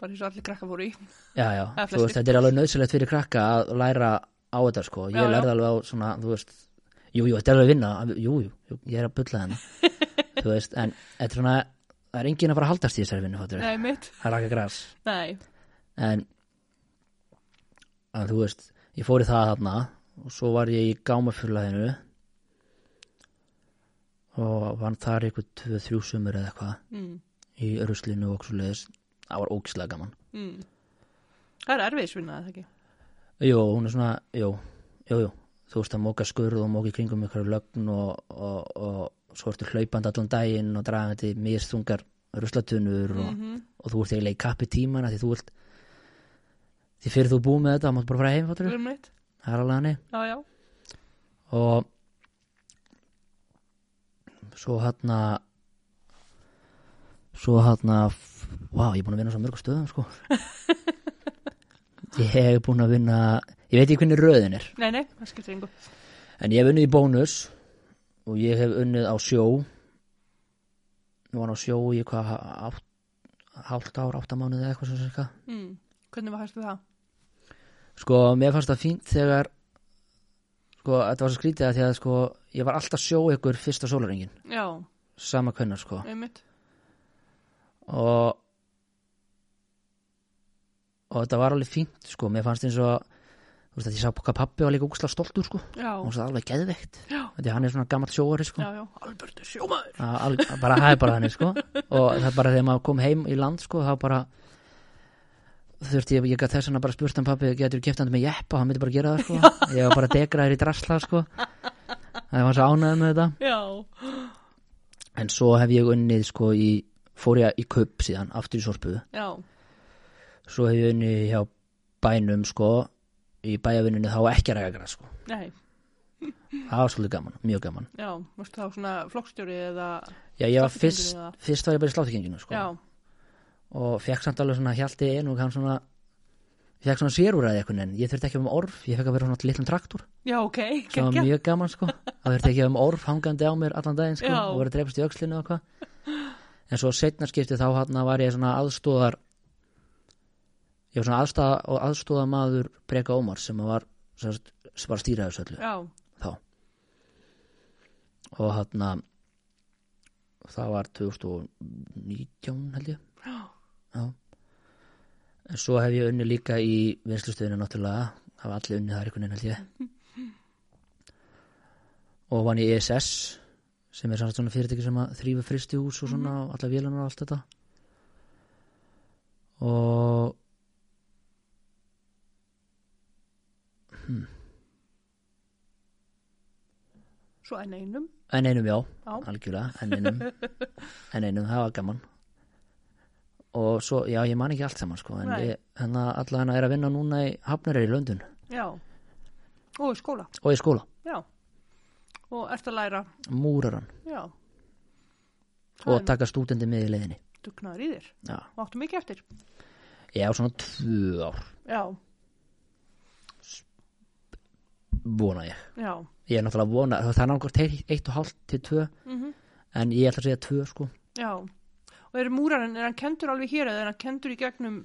A: bara eins og allir krakka fóru í.
B: já, já,
A: Það er
B: þú veist
A: flestir.
B: þetta er alveg nöðsilegt fyrir krakka að læra á þetta sko, ég
A: Já, já.
B: lærði alveg á svona þú veist, jú, jú, þetta er alveg vinna jú, jú, jú, ég er að bulla henni þú veist, en þetta er svona það er engin að fara að haldast í þessari vinnu, fattur
A: Nei, mitt,
B: það er ekki græs
A: nei,
B: en að þú veist, ég fór í það þarna og svo var ég í gámafjörlæðinu og var þar ykkur tvö, þrjú sumur eða eitthvað
A: mm,
B: í ruslinu og okkur svoleiðis það var ógislega gaman
A: mm. Það er erfiðisvinna, er það ekki?
B: jú, hún er svona, jú, jú, jú þú veist að móka skurð og móka í kringum ykkur lögn og, og, og svo ertu hlaupandi allan daginn og dragandi mistungar ruslatunur og,
A: Mhm.
B: og þú ert eiginlega í kappi tímana því þú ert því fyrir þú búið með þetta, þá mátt bara fara heim fattur
A: Fyrir mitt,
B: það er alveg hannig
A: já, já,
B: og svo hérna svo hérna vá, ég er búin að vinna á svo mörgum stöðum sko ég hef búin að vinna ég veit ekki hvernig röðin er
A: nei, nei, það skiptir yngur.
B: en ég hef unnið í bónus og ég hef unnið á sjó nú var á sjó í hvað átt, hálft ár, áttamánuð eða eitthvað sem sem eitthvað
A: Mm. Hvernig var hægstu það?
B: Sko, mér fannst það fínt þegar sko, þetta var svo skrítið að því að sko, ég var alltaf sjó ykkur fyrsta sólaringin,
A: Já,
B: sama kvennar sko
A: einmitt,
B: og og þetta var alveg fínt sko, mér fannst eins og þú veist að ég sá hvað pappi var líka úksla stoltur sko,
A: já,
B: og hún sagði alveg geðveikt
A: Já.
B: því hann er svona gammal sjóari sko
A: já, já, Albert er sjómaður.
B: Að alg- bara það er bara þannig sko og það er bara þegar maður kom heim í land sko þá bara þurfti ég, ég gat þess að bara spurt hann pappi getur keft hann með jeppa, hann myndi bara gera það sko ég var bara degraður í drasla sko það var svo ánægð með þetta
A: Já,
B: en svo hef ég unnið sko í fór ég í kaup síðan, aftur í sorpu
A: já,
B: svo hef ég unnið hjá bænum sko í bæjavinnunni þá ekki að ræða græs sko
A: nei,
B: það var svolítið gaman, mjög gaman
A: já, varstu þá svona flokkstjóri eða,
B: já, ég var
A: Sláttukenginu
B: fyrst,
A: eða?
B: fyrst var ég bara í sláttukenginu sko
A: já,
B: og fekk samt alveg svona hjalti inn og hann svona fekk svona sérúræði eitthvað en ég þurfti ekki um orf, ég fekk að vera svona litlum traktor
A: já, ok,
B: sem var
A: geggja,
B: mjög gaman sko það þurfti ekki um orf hangandi á mér allan daginn sko
A: Já.
B: og verið að drefast í öxlinu og eitthvað en svo setna skipti þá hann var ég svona aðstóðar ég var svona aðstóða og aðstóðamaður Breka Ómar sem var sem, sagt- sem var að stýra þessu öllu
A: já,
B: þá og hann það var 2019 held ég já en svo hef ég unni líka í vinslustöðinu náttúrulega, hafa allir unni þar einhvern veginn held ég og vann í ESS sem er samt svona fyrirtæki sem að þrýfa fristihús og svona og alla vélunar og allt þetta og
A: svo enn einum,
B: En einum, já,
A: Já.
B: algjörlega, en einum, en einum, það var gaman. Og svo, já, ég man ekki allt saman, sko, en
A: Nei.
B: ég, hennar, alla hennar er að vinna núna í Hafnareyri í London
A: já, og í skóla,
B: og í skóla,
A: já, og ert að læra,
B: múraran
A: já, Það
B: og
A: er
B: taka stúdendi með í leiðinni.
A: dugnaður í þér,
B: Já,
A: og áttu mikið eftir,
B: ég á svona tvö ár,
A: já,
B: vona ég.
A: já,
B: Ég er náttúrulega vona, það er náttúrulega eitt, eitt og hálft til tvö,
A: mhm,
B: en ég ætla að segja tvö, sko.
A: já, og er múrarinn, er hann kendur alveg hér eða er hann kendur í gegnum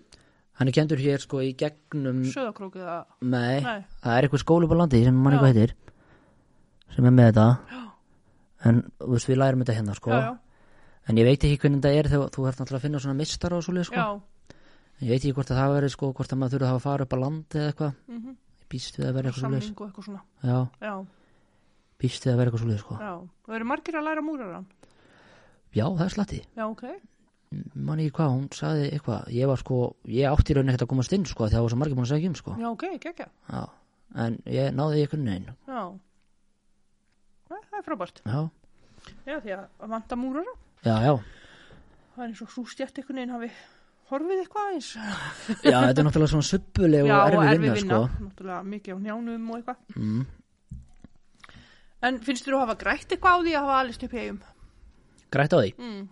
B: Hann er kendur hér sko í gegnum
A: Söðakrók eða
B: Nei,
A: Nei.
B: það er eitthvað skóli upp á landi sem mann
A: Já.
B: eitthvað heitir sem er með þetta
A: Já.
B: en þú veist við lærum þetta hérna sko
A: Já, já,
B: en ég veit ekki hvernig þetta er þegar þú ert náttúrulega að finna svona mistara og svoleið sko
A: já,
B: en ég veit ekki hvort að það veri sko hvort að maður þurfa að hafa að fara upp á landi eða eitthvað
A: mm -hmm.
B: ég býst við að vera eitthvað svoleið
A: samning og eitthvað svona
B: já,
A: Já,
B: býst við að vera eitthvað svoleið sko já,
A: já, það eru margir að læra múraran
B: það er slatti
A: Já, ok,
B: man ekki hvað, hún sagði eitthvað ég var sko, ég átti í raun ekkert að komast inn sko því það var svo margir búin að segja um sko
A: já, ok, gekkja
B: já. en ég náði í einhvern veginn
A: Já Æ, Það er frábært
B: já,
A: Já, því að að vanta múrara
B: já, já
A: Það er eins og svo stjætt einhvern veginn hafi horfið eitthvað eins
B: Já, þetta er náttúrulega svona subbuleg og erfi vinna, sko.
A: Náttúrulega mikið á njánum og eitthvað
B: Mm.
A: En finnst þér þú að hafa grætt eitthvað á því að hafa alist upp í eigum?
B: Grætt á því,
A: Mm,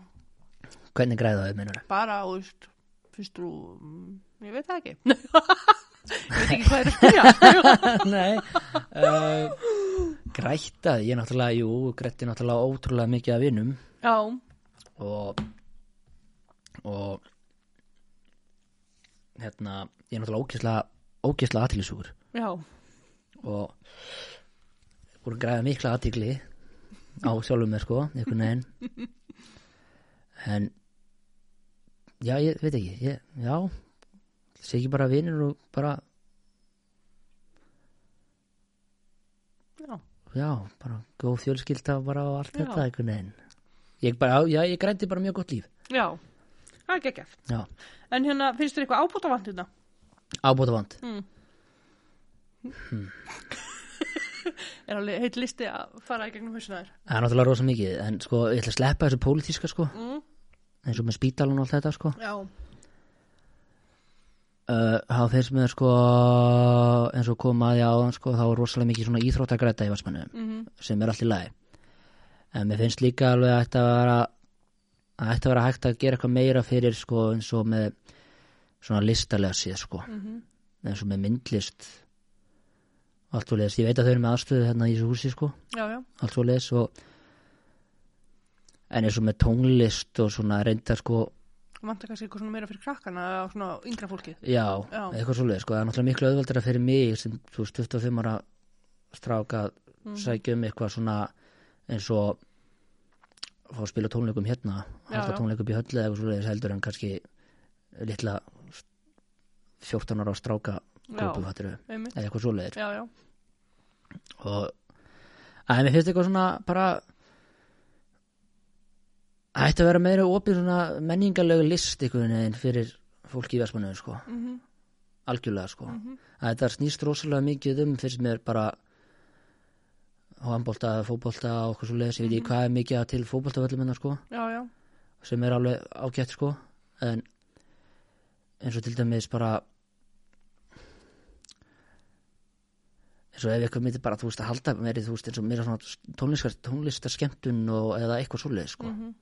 B: hvernig græða á því, mennur?
A: bara, þú veist, finnst þú, mm, ég veit það ekki Ég veit ekki hvað er að spyrja
B: Nei, uh, grætt að því, ég náttúrulega, jú, grætti náttúrulega ótrúlega mikið af vinnum
A: Já,
B: og, og, hérna, ég er náttúrulega ókislega, ókislega aðtílisúkur
A: já,
B: og búin að græða mikla aðtíkli á sjálfum mér, sko, einhvern veginn. En, já, ég veit ekki, ég, já, sé ekki bara vinir og bara
A: já
B: Já, bara góð fjölskylda bara og allt
A: Já.
B: þetta einhvern veginn. Ég bara, já, ég grændi bara mjög gott líf.
A: Já, það er geggjaf.
B: Já,
A: En hérna, finnst þér eitthvað ábútavand hérna?
B: ábúta vand.
A: Mm. er alveg heitt listi að fara í gegnum hausina þér.
B: Það er náttúrulega rosa mikið, en sko, ég ætla að sleppa þessu pólitíska, sko,
A: Mm.
B: eins og með spítalun og allt þetta, sko.
A: Já,
B: Uh, Það fyrst með, sko, eins og kom að ég áðan, sko, þá er rosalega mikið svona íþróttagræta í vatsmannu,
A: mm
B: sem er allt í lagi. En mér finnst líka alveg að þetta vera, að þetta vera hægt að gera eitthvað meira fyrir, sko, eins og með svona listalega síð, sko. eins og með myndlist allt svo leis, ég veit að þau eru með aðstöðu hérna í þessu húsi sko,
A: já, já,
B: allt svo leis og en eins og með tónlist og svona reynda sko,
A: vantar kannski eitthvað svona meira fyrir krakkana eða svona yngra fólkið.
B: já,
A: Já.
B: eitthvað svo leis sko, það er náttúrulega miklu auðveldara fyrir mig sem þú veist 25 ára stráka mm. sækja um eitthvað svona eins og fá að spila tónleikum hérna
A: Já,
B: halda
A: já.
B: tónleikum í höllu eða eitthvað svo leis heldur en kannski litla 14 ára stráka grúpu fattur
A: Einmitt.
B: eða eitthvað svo leis
A: Já, já,
B: og að mér finnst eitthvað svona bara það ætti að vera meira opið svona menningarlegu list einhvern veginn fyrir fólk í versmannu sko.
A: Mhm.
B: algjörlega sko. að þetta snýst rosalega mikið um fyrst mér bara handbólta eða fótbolta og okkur svo leis, ég veit ekki hvað er mikið að til fótboltavöllumennar sko,
A: já, já,
B: sem er alveg ágætt sko, en eins og til dæmis bara eins og ef eitthvað myndi bara, þú veist, að halda meiri, þú veist, eins og meira svona tónlistar, tónlistarskemmtun og eða eitthvað svoleið, sko.
A: Mhm.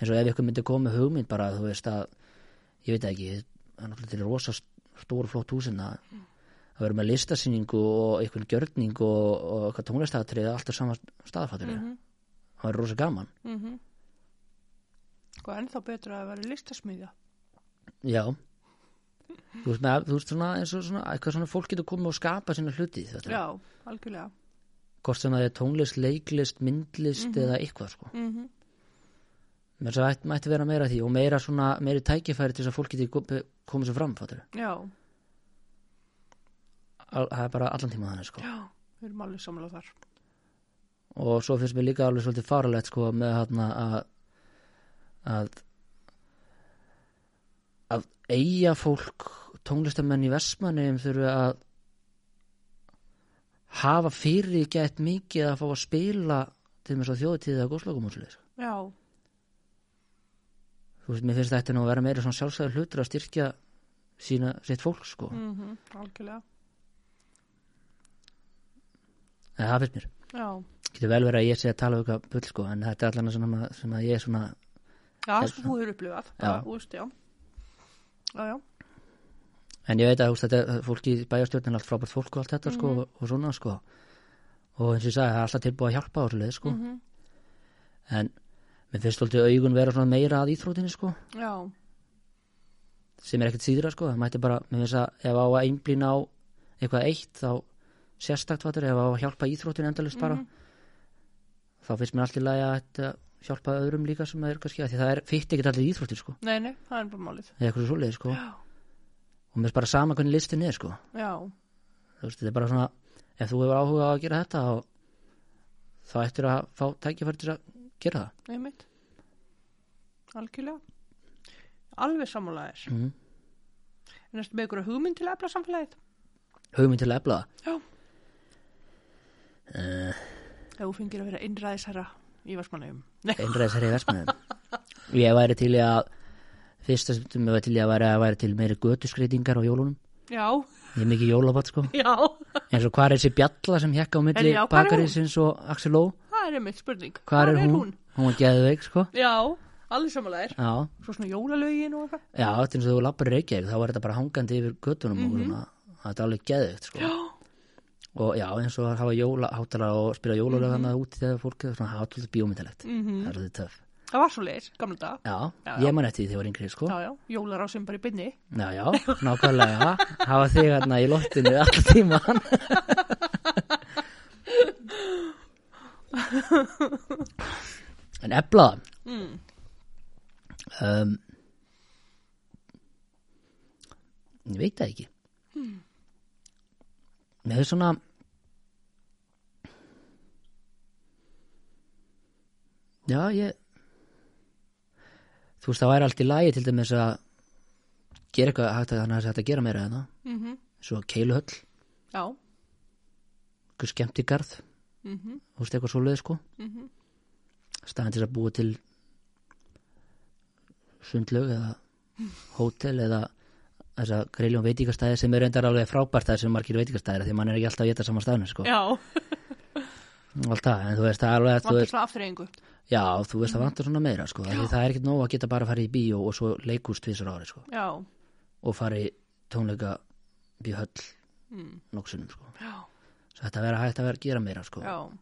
B: Eins og ef eitthvað myndi koma með hugmynd bara, þú veist, að, ég veit það ekki, það er náttúrulega til rosa stór flott húsina, að vera með listasýningu og eitthvað gjörning og, og eitthvað tónlistatrið, allt á sama staðfattur.
A: Mhm.
B: Það er rosa gaman.
A: mhm. Mm Hvað er ennþá betra að vera listasmiðja?
B: Já. Þú veist, með, þú veist svona, eins og svona, eitthvað svona fólk getur komið og skapa sína hluti, þetta er,
A: Já, algjörlega.
B: hvort sem það er tónlist, leiklist, myndlist eða eitthvað, sko.
A: Mm
B: Mér svo ætti, mætti vera meira af því og meira svona, meiri tækifæri til þess að fólk geti kom- komið sér fram, fattur.
A: Já,
B: Al, það er bara allan tíma þannig, sko.
A: já, við erum alveg samlega þar.
B: Og svo finnst mér líka alveg svolítið faralegt, sko, með þarna að, að, að eiga fólk, tónlistamenn í versmanniðum þurfi að hafa fyrir gett mikið að fá að spila til mér svo þjóðutíðið að góðslökum úr sliðis.
A: Já,
B: sko. Þú veist, mér finnst þetta nú að vera meira svona sjálfsæður hlutur að styrkja sína, sitt fólk, sko.
A: mm algjörlega.
B: En það finnst mér.
A: Já,
B: getur vel verið að ég sé að tala um eitthvað bull sko en þetta er allan að svona sem að ég er svona
A: já,
B: Er-
A: sem þú hefur upplifað. bara,
B: Já.
A: Þú veist, já. Já, já,
B: en ég veit að þú veist, þetta er fólki í bæjarstjórnin er allt frábært fólk og allt þetta sko
A: Mhm.
B: og, og svona sko og eins og ég sagði það er alltaf tilbúið að hjálpa á þessu leið sko
A: Mhm.
B: en mér finnst alltaf augun vera svona meira að íþrótinni sko
A: já.
B: sem er ekkert síðra sko, það mætti bara með þess að ef á að einblýna á eitthvað eitt þá sérstakt vatur, ef á að hjálpa íþróttin endalust
A: Mhm.
B: bara þá finnst mér allt í lagi að þetta hjálpa öðrum líka sem það er kannski, af því það er fyrt ekkert allir íþróttir sko,
A: Nei, nei, það er bara málið.
B: eða eitthvað svoleiði sko
A: Já.
B: og mér er bara sama hvernig listin er sko
A: Já,
B: þú veist, þetta er bara svona ef þú hefur áhuga á að gera þetta þá, þá ættir að fá tækifæri til að gera það
A: einmitt. Algjörlega. Alveg sammálaðir.
B: mm.
A: En erstu með ykkur hugmynd til að efla samfélagið?
B: hugmynd til að efla það
A: Já. Ef þú fengir að vera innræðisherra í Vestmannaugum. Nei,
B: einræðisherri í versmiðum ég væri til í að fyrsta sem ég væri til í að væri, að væri til meiri götuskreitingar á jólunum
A: já,
B: ég er mikið jólabat sko
A: já.
B: eins og hvað er þessi bjalla sem hekka á
A: Heyrðu,
B: milli
A: já, hvar er hún?
B: bakarísins og Axel Ó
A: Það er einmitt spurning.
B: hvað er hún? hún er geðveik sko
A: Já, alveg sammálaðir.
B: já,
A: Svo svona jólalögin og eitthvað.
B: já þetta er eins og þú lappar í Reykjavík þá var þetta bara hangandi yfir götunum mm -hmm. og svona, þetta er alveg geðveikt sko
A: Mhm. Já,
B: og já, eins og að hafa jóla, hátala og spila jólalög
A: Mhm.
B: mm -hmm. úti þegar fólk er svona hátalegt bíómyndalegt það er þetta töff
A: það var svo leir, gamla dag.
B: já,
A: Mhm. Já,
B: ég man eftir því þegar ég var yngri sko
A: Já, já, jólarásin bara í bynni.
B: já, já, nákvæmlega hafa þig hérna í loftinu alltaf tíman en ebla
A: Mm.
B: um, ég veit það ekki mér hefur svona já ég þú veist það væri allt í lagi til dæmis að gera eitthvað hægt að hann hægt að gera meira en það
A: Mm
B: svo keiluhöll,
A: Já,
B: eitthvað skemmtigarð
A: mm
B: þú veist eitthvað svoleið sko
A: Mhm.
B: staðan til að búa til sundlög eða hótel eða þess að greiljum veitingastæði sem er reyndar alveg frábært það sem margir veitingastæðir því mann er ekki alltaf að geta saman staðinu sko
A: já.
B: alltaf, en þú veist það er alveg að þú
A: Vantar Mhm.
B: veist,
A: svona aftureyingu.
B: já, þú veist það vantar svona meira sko, af því það er ekkert nóg að geta bara að fara í bíó og svo leikúst tvisar ári sko
A: Já,
B: og fara í tónleika bíhöll mm. noksunum sko
A: já,
B: svo þetta verður hægt að vera að gera meira sko
A: já.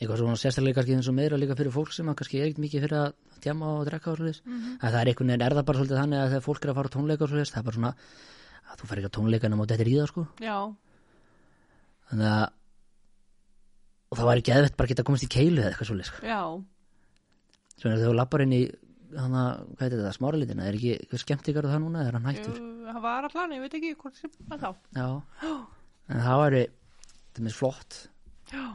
B: eitthvað svona sérstaklega kannski eins og meira líka fyrir fólk sem að kannski er ekkert mikið fyrir að tjama og drekka og svolítið mm -hmm. það er einhvern veginn er það bara svolítið þannig að þegar fólk er að fara á tónleika og svolítið það er bara svona að þú fer ekki á tónleika nema þetta er í það sko
A: Já,
B: þannig að og það var ekki eðvett bara að geta komist í keilu eða eitthvað svolítið sko.
A: já,
B: svona þegar þú lappar inn í hana, hvað heitir þetta, smáralitina er ekki eitthvað skemmtikar það núna, er hann hættur
A: Jú, hann var allan, ég veit ekki hvort sem að þá.
B: já, en það var þetta er flott,
A: Já.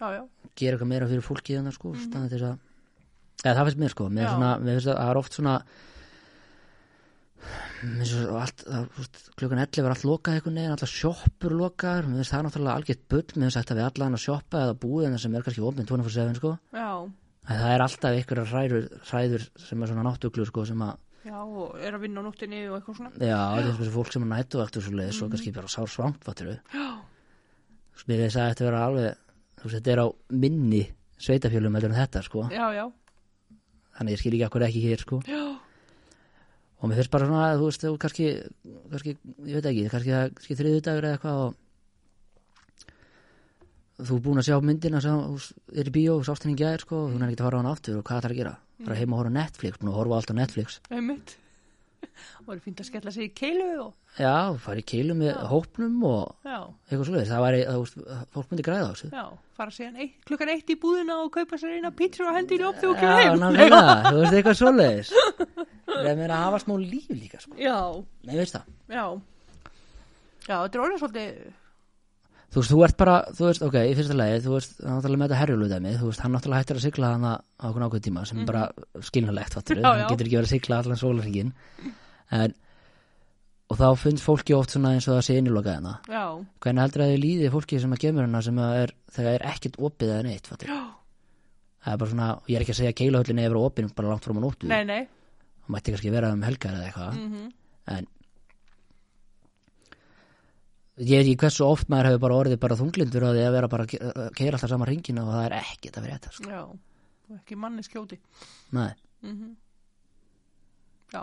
A: Já, já,
B: gera eitthvað meira fyrir fólki þannig sko, mm -hmm. þess að eða það finnst mér sko, mér
A: Mhm. Já.
B: finnst svona, mér finnst að það er oft svona mér finnst svo allt, það, fúst, klukkan 11 var allt lokað einhvern veginn, allar sjoppur lokaðar mér finnst það náttúrulega algjört bull, mér finnst sagt að við allan að sjoppa eða búið en það sem er kannski opinn 24-7 sko,
A: já,
B: að það er alltaf einhverjar hræður, hræður sem er svona náttúklu sko, sem að,
A: já, og er að vinna á nóttinni og eitthvað svona.
B: já, það er þessi fólk sem er nættu eftir svo leið, svo kannski bara sár svangt fattur við,
A: Mhm. Já,
B: mér finnst að þetta vera alveg, þú veist, þetta er á minni sveitafjölum heldur en þetta sko
A: já, já,
B: þannig ég skil ekki akkur ekki hér sko
A: já,
B: og mér finnst bara svona að þú veist þú kannski, kannski ég veit ekki, kannski, það- kannski þriðu dagur eða eitthvað og þú er búin að sjá myndina sem þú s- er í bíó og sást henni í gæðir sko og þú er ekki að fara á hann aftur og hvað það er að gera það er heima að horfa á Netflix, búin að horfa á allt á Netflix
A: einmitt. Og er fínt að skella sig í keilu og,
B: já, fara í keilu með hópnum og
A: já,
B: eitthvað svoleiðis, það væri, þú veist, fólk myndi græða á þessu
A: já, fara síðan eitt, klukkan eitt í búðina og kaupa sér eina pítsu og hendi í ljóp þegar þú kemur
B: já,
A: heim.
B: nákvæmlega, þú veist eitthvað svoleiðis það er meira að hafa smá líf líka sko,
A: Já,
B: nei, veist það
A: já, já, þetta er orðið svolítið,
B: þú veist, þú ert bara, þú veist, ok, í fyrsta lagi þú veist, náttúrulega með þetta herjulúdæmi þú veist, hann náttúrulega hættir að sigla hann á okkur ákveð tíma sem er bara skilnulegt, fattur
A: Mhm. Já,
B: hann
A: já.
B: getur ekki verið að sigla allan sólaringin en, og þá finnst fólki oft svona eins og það sé innilokað hana
A: já,
B: hvernig heldur að þið líði fólki sem að gemur hana sem að er, þegar er ekkert opið eða neitt, fattur
A: já,
B: það er bara svona, og ég er ekki að segja að keilahöllinni hefur opið bara langt fram á nóttu,
A: nei, nei,
B: það mætti kannski vera um helgar eða eitthvað
A: mhm,
B: en ég veit ekki hversu oft maður hefur bara orðið bara þunglindur að því að vera bara að keira alltaf saman ringina og það er ekkert að vera þetta sko.
A: já, og ekki manni skjóti.
B: Nei,
A: Mhm. Já,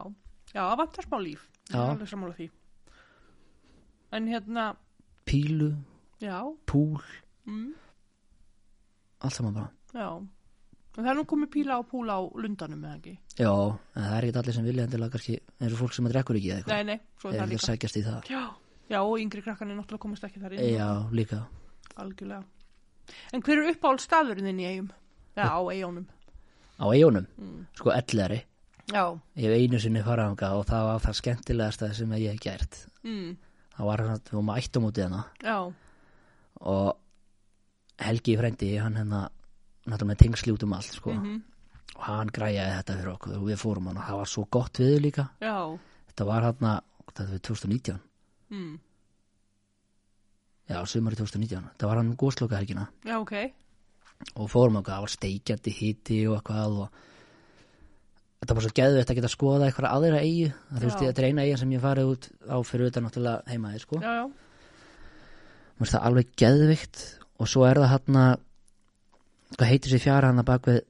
A: já, það vantar smá líf Ég er
B: Já.
A: alveg sammála því En hérna,
B: pílu,
A: já,
B: púl
A: mm,
B: allt saman bara
A: já En það er nú komið píla og púla á lundanum eða ekki?
B: Já, en það er ekki allir sem vilja endilega kannski eins og fólk sem að drekkur ekki eða eitthvað
A: Nei, nei, svo er
B: er
A: það
B: ekki að
A: líka.
B: sækjast í það
A: Já, já, og yngri krakkanir náttúrulega komast ekki þar inn.
B: Já, líka
A: Algjörlega. En hver er uppáhald staðurinn þinn í eigum? Já, á eigunum.
B: á eigunum,
A: Mm.
B: sko ellari
A: Já.
B: Ég hef einu sinni farað þangað og það var það skemmtilegasta sem ég hef gert
A: Mm.
B: Það var hann, við varum ættum út í hana
A: Já.
B: og Helgi frendi, hann hennar náttúrulega með tengsli út um allt sko.
A: Mhm.
B: og hann græjaði þetta fyrir okkur og við fórum hann og það var svo gott við líka
A: Já.
B: þetta var hann að, þetta var 2019
A: Mm.
B: já, sumari 2019, það var hann um góðsloka helgina
A: Já, ok.
B: og fórum okkur, það var steikjandi hiti og eitthvað og þetta var svo geðvett að geta skoða eitthvað aðra eigu það þú veist,
A: Já.
B: þetta er eina eigin sem ég hef farið út á fyrir þetta náttúrulega heimaði sko.
A: Já, já.
B: mér finnst það alveg geðvikt og svo er það hann að hvað heitir sér fjara hann að bak við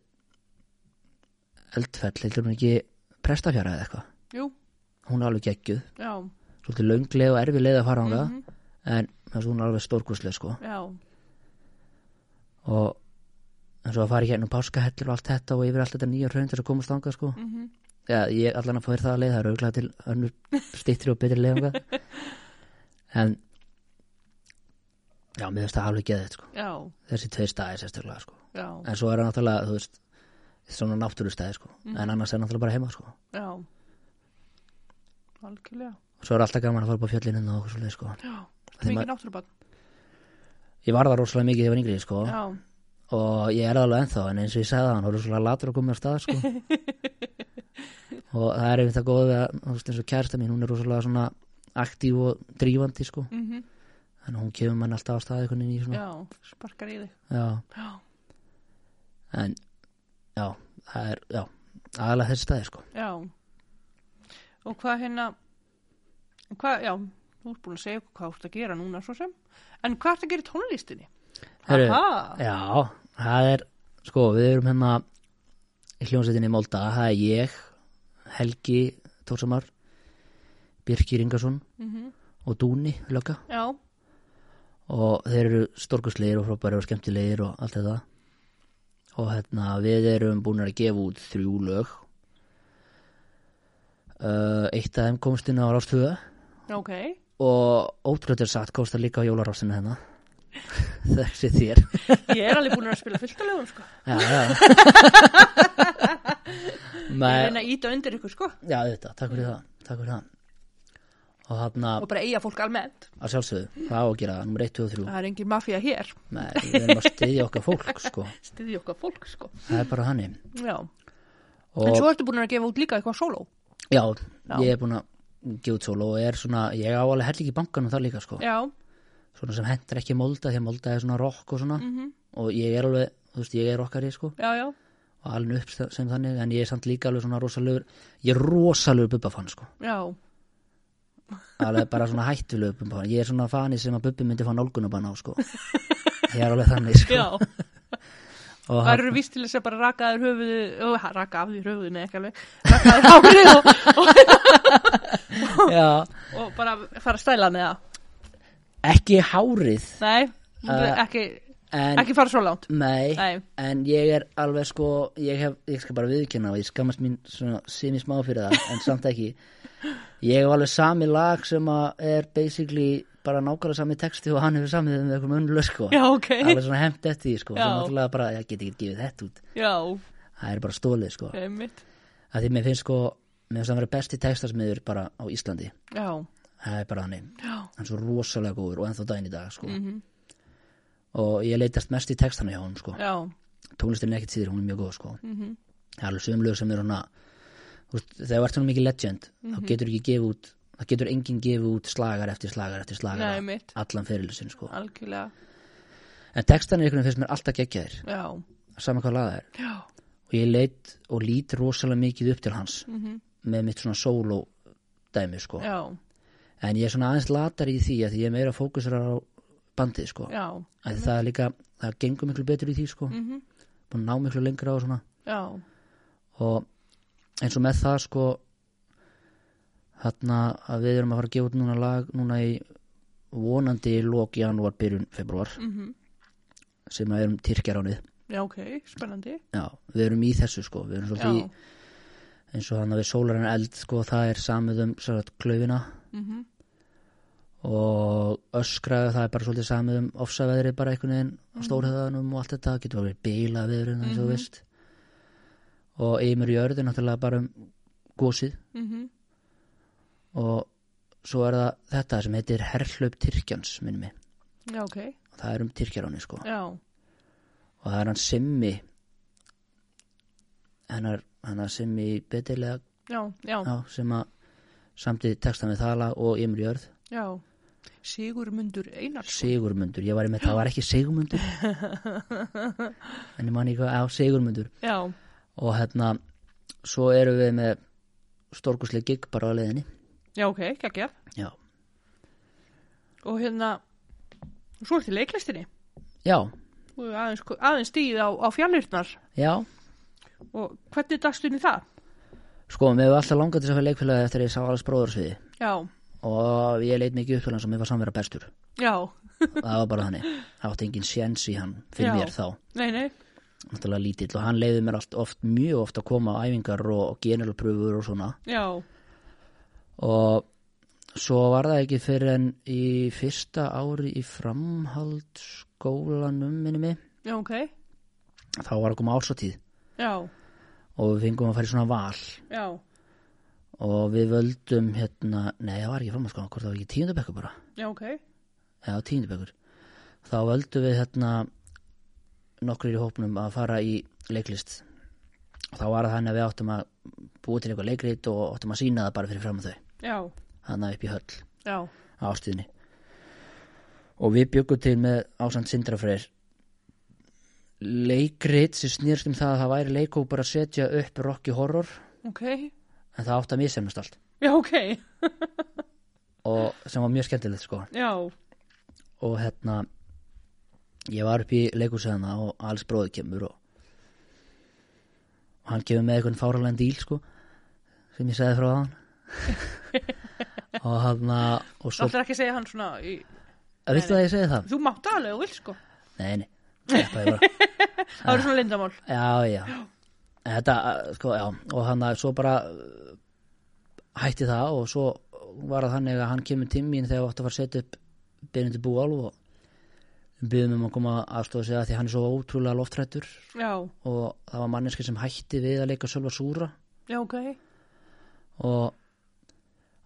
B: eldfell, heitir hún ekki prestafjara eða eitthvað,
A: Jú,
B: hún er alveg geggjuð
A: já.
B: svolítið löngleg og erfið leið að fara hanga
A: Mhm.
B: en mér finnst hún alveg stórkúslega sko
A: Já.
B: og en svo að fara í hérna páskahellir og allt þetta og yfir allt þetta nýja hraun til að komast þangað sko
A: Mm
B: Já, ég allan að fóðir það að leið, það eru auðvitað til önnur stittri og betri leiðanga en já, mér finnst það alveg geðið sko.
A: Já.
B: þessi tveir staði sérstaklega sko.
A: Já.
B: en svo er það náttúrulega, þú veist svona náttúrustæði, sko. en annars er náttúrulega bara heima sko.
A: Já. Algjörlega.
B: og svo er alltaf gaman að fara upp á fjöllinu og okkur svolítið, sko.
A: Já.
B: Þeim
A: Mikið
B: að-
A: náttúrubann.
B: ég var það rosalega mikið þegar ég var yngri sko.
A: Já.
B: og ég er það alveg ennþá en eins og ég sagði það, hann voru svolítið latur að koma af stað sko. og það er einmitt það góð við að, þú veist, eins og kærsta mín hún er rosalega svona aktív og drífandi sko.
A: Mm
B: þannig að hún kemur mann alltaf á stað einhvern veginn í svona
A: Já. Sparkar í þig.
B: já,
A: Já.
B: en já, það er, já aðalega þessi staði sko
A: Já. Og hvað hérna, hvað, já, þú ert búin að segja okkur hvað þú ert að gera núna svo sem, en hvað ert að gera í tónlistinni?
B: Herru, eh.
A: Aha,
B: já, það er sko, við erum hérna í hljónsetinni Molda, það er ég Helgi Tórshamar Birkir Ingarsson
A: Mhm.
B: og Dúni Lögga
A: já,
B: og þeir eru storkuslegir og frábæri og skemmtilegir og allt þetta og hérna við erum búin að gefa út þrjú lög uh, eitt af þeim komst inn á rástöðu
A: já, ok,
B: og ótrúlega satt komst það líka á jólarásinu hérna þessi þér
A: ég er alveg búin að spila fullt að lögum, sko,
B: já, já.
A: ég
B: Nei,
A: reyna að íta undir ykkur, sko,
B: Eh. já, þetta, takk fyrir það takk fyrir það og þarna
A: og bara eiga fólk almennt,
B: að sjálfsögðu, það á að gera nummer 1, 2 og 3
A: það er engin mafía hér,
B: Nei, við erum að styðja okkar fólk sko.
A: stiði okkar fólk, sko,
B: það er bara hannig
A: já,
B: og
A: en svo ertu búin að gefa út líka eitthvað sóló,
B: já,
A: Já.
B: ég er búin að gefa út solo og er svona, ég á alveg helling í bankanum það líka sko,
A: já,
B: svona sem hendur ekki molda því að molda er svona rock og svona
A: mhm,
B: og ég er alveg, þú veist, ég er rockari sko
A: já, já,
B: og alveg upp sem þannig, en ég er samt líka alveg svona rosalegur, ég er rosalegur bubba fann sko,
A: já,
B: alveg bara svona hættulegur bubba fann, ég er svona fani sem að bubbi myndi fá nálgunabann á sko ég er alveg þannig sko
A: já,
B: og
A: það
B: hann,
A: eru víst til þess að bara raka þér höfuðu, ó, ha, raka af því höfuðinu, ekki alveg, raka þér hárið og,
B: já,
A: og bara fara að stæla með það
B: ekki hárið
A: Nei,
B: Eh,
A: ekki,
B: en,
A: ekki fara svo langt
B: nei,
A: Nei,
B: En ég er alveg sko, ég, hef, ég skal bara viðkynna og ég skammast mín svona semi smá fyrir það, en samt ekki. Ég hef alveg sami lag sem að er basically bara nákvæmlega sami texti og hann hefur samið með einhverjum önnulög sko.
A: já, ok
B: Alveg svona hemmt eftir því sko,
A: Já.
B: sem náttúrulega bara, ég get ekki gefið þetta út.
A: Já,
B: Það er bara stólið sko.
A: einmitt
B: Það því mér finnst sko, mér finnst það að vera besti textasmiður bara á Íslandi.
A: Já,
B: Það er bara þannig.
A: já,
B: Hann er svo rosalega góður og ennþá daginn í dag sko.
A: Mhm.
B: Og ég leitast mest í textana hjá hann sko.
A: já,
B: Tónlistin er ekkert síður, hún er mjög góð sko.
A: mhm,
B: það er alveg sögum lög sem er svona þú veist, þegar þú ert svona mikið legend
A: Mhm.
B: þá getur ekki gefið út þá getur enginn gefið út slagar eftir slagar eftir slagar
A: Nei, mitt.
B: allan fyrirlisinn sko
A: algjörlega
B: en textan er einhvern veginn finnst mér alltaf geggjaðir
A: Já,
B: saman hvað laga er
A: já,
B: og ég leit og lít rosalega mikið upp til hans
A: mhm,
B: með mitt svona solo dæmi sko
A: já,
B: en ég er svona aðeins latar í því að því ég er meira fókusur á bandið sko
A: já,
B: að það er líka það gengur miklu betur í því sko
A: mhm,
B: búin að ná miklu lengra og svona
A: já,
B: og eins og með það sko þarna að við erum að fara að gefa út núna lag núna í vonandi lók janúar byrjun februar
A: mhm,
B: sem að er um Tyrkjaránið
A: Já, ok, spennandi.
B: Já, við erum í þessu sko, við erum
A: Já,
B: svolítið í, eins og hann að við sólarinn eld sko, það er samið um svolítið klöfina
A: mhm,
B: og öskraðu það er bara svolítið samið um ofsaveðrið bara einhvern veginn á stórhæðanum og allt þetta, getur verið bíla viðurinn eins og þú veist og Ymir Jörð er náttúrulega bara um gósið
A: mhm.
B: og svo er það þetta sem heitir Herhlaup Tyrkjans minnum mig,
A: Já, ok.
B: og það er um Tyrkjaráni sko
A: Já,
B: og það er hann Simmi hennar, hennar Simmi betilega
A: já, já,
B: já, sem að samtið textan við þala og Ymir Jörð
A: já. Sigurmundur Einars.
B: Sigurmundur, ég var í með það var ekki Sigurmundur en ég man ekki á Sigurmundur
A: Já,
B: og hérna svo erum við með stórkuslega gig bara á leiðinni
A: já, ok, geggjað.
B: já,
A: Og hérna, svo ertu í leiklistinni.
B: já,
A: Þú hefur aðeins, aðeins stíð á, á fjarnirnar.
B: já.
A: Og hvernig dagstunni það?
B: sko, mér hefur alltaf langað til þess að fyrir leikfélagi eftir að ég sá alveg spróðarsviði
A: Já,
B: og ég leit mikið upp til hans og mér var samverða bestur
A: já,
B: það var bara þannig, það átti engin sjens í hann fyrir
A: Já.
B: mér þá,
A: nei, nei,
B: náttúrulega lítill og hann leiði mér allt, oft, mjög oft að koma á æfingar og generalpröfur og svona
A: já,
B: og svo var það ekki fyrir en í fyrsta ári í framhaldsskólanum minni mig,
A: já, ok,
B: þá var að koma ársatíð
A: já,
B: og við fengum að fara í svona val
A: já,
B: og við völdum hérna, nei það var ekki framhaldsskólan, hvort það var ekki tíundabekkur bara,
A: já, ok,
B: eða tíundabekkur þá völdum við hérna nokkur í hópnum að fara í leiklist og þá var það þannig að við áttum að búa til eitthvað leikrit og áttum að sína það bara fyrir fram að þau,
A: já,
B: þannig upp í höll
A: já,
B: á ástíðinni og við byggum til með ásand sindrafreyr leikrit sem snýrst um það að það væri leikhópar að setja upp Rocky Horror
A: ok,
B: en það átti að missemnast allt
A: já, ok,
B: og sem var mjög skemmtilegt sko
A: já,
B: og hérna ég var upp í leikhúsæðana og alls bróði kemur og, og hann kemur með einhvern fáralegn díl sko sem ég segði frá hann og hann og
A: þú
B: svo,
A: ætlar ekki að segja hann svona í,
B: að viltu að ég segi það?
A: þú mátt alveg og vil sko,
B: Nei, nei, þetta er bara
A: það eru svona lindamál,
B: Já, já En Þetta, uh, sko, já, og hann að svo bara uh, hætti það og svo var það þannig að hann kemur til mín þegar við áttu að fara að setja upp byrjandi búálf og byggðum um að koma aðstofa sig að því hann er svo ótrúlega loftrættur
A: já,
B: og það var manneski sem hætti við að leika Sölva Súra
A: já, ok,
B: og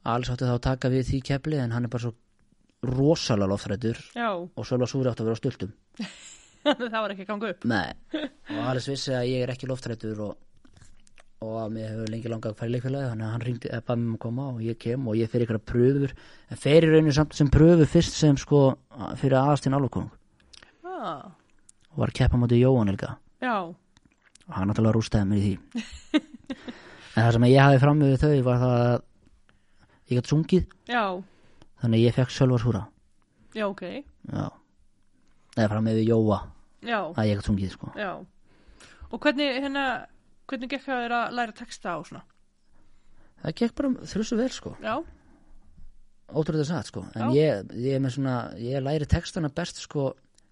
B: alls áttu þá að taka við því kefli en hann er bara svo rosalega loftrættur
A: já,
B: og Sölva Súra áttu að vera á stultum
A: það var ekki að ganga upp,
B: Nei, og Alice vissi að ég er ekki loftrættur og, og að mér hefur lengi langað að fara í leikfélagi þannig að hann ringdi eða bara mér um að koma og ég kem og ég fer ykkur að pröfur en fer í rauninu samt sem pröfur fyrst sem sko fyrir aðastinn alvegkong
A: ah,
B: og var að keppa mútið Jóhann Helga
A: já,
B: og hann náttúrulega rústaði mér í því en það sem ég hafi fram við þau var það að ég gætt sungið
A: já,
B: þannig að ég fekk sjálfars húra
A: já, ok,
B: já, það er fram við Jóa
A: já,
B: að ég gætt sungið sko
A: já, og hvernig hérna, hvernig gekk að þeirra læra texta á svona,
B: það gekk bara þrjusu vel sko
A: já,
B: ótrúlega satt sko en ég, ég, er með svona, ég læri textana best sko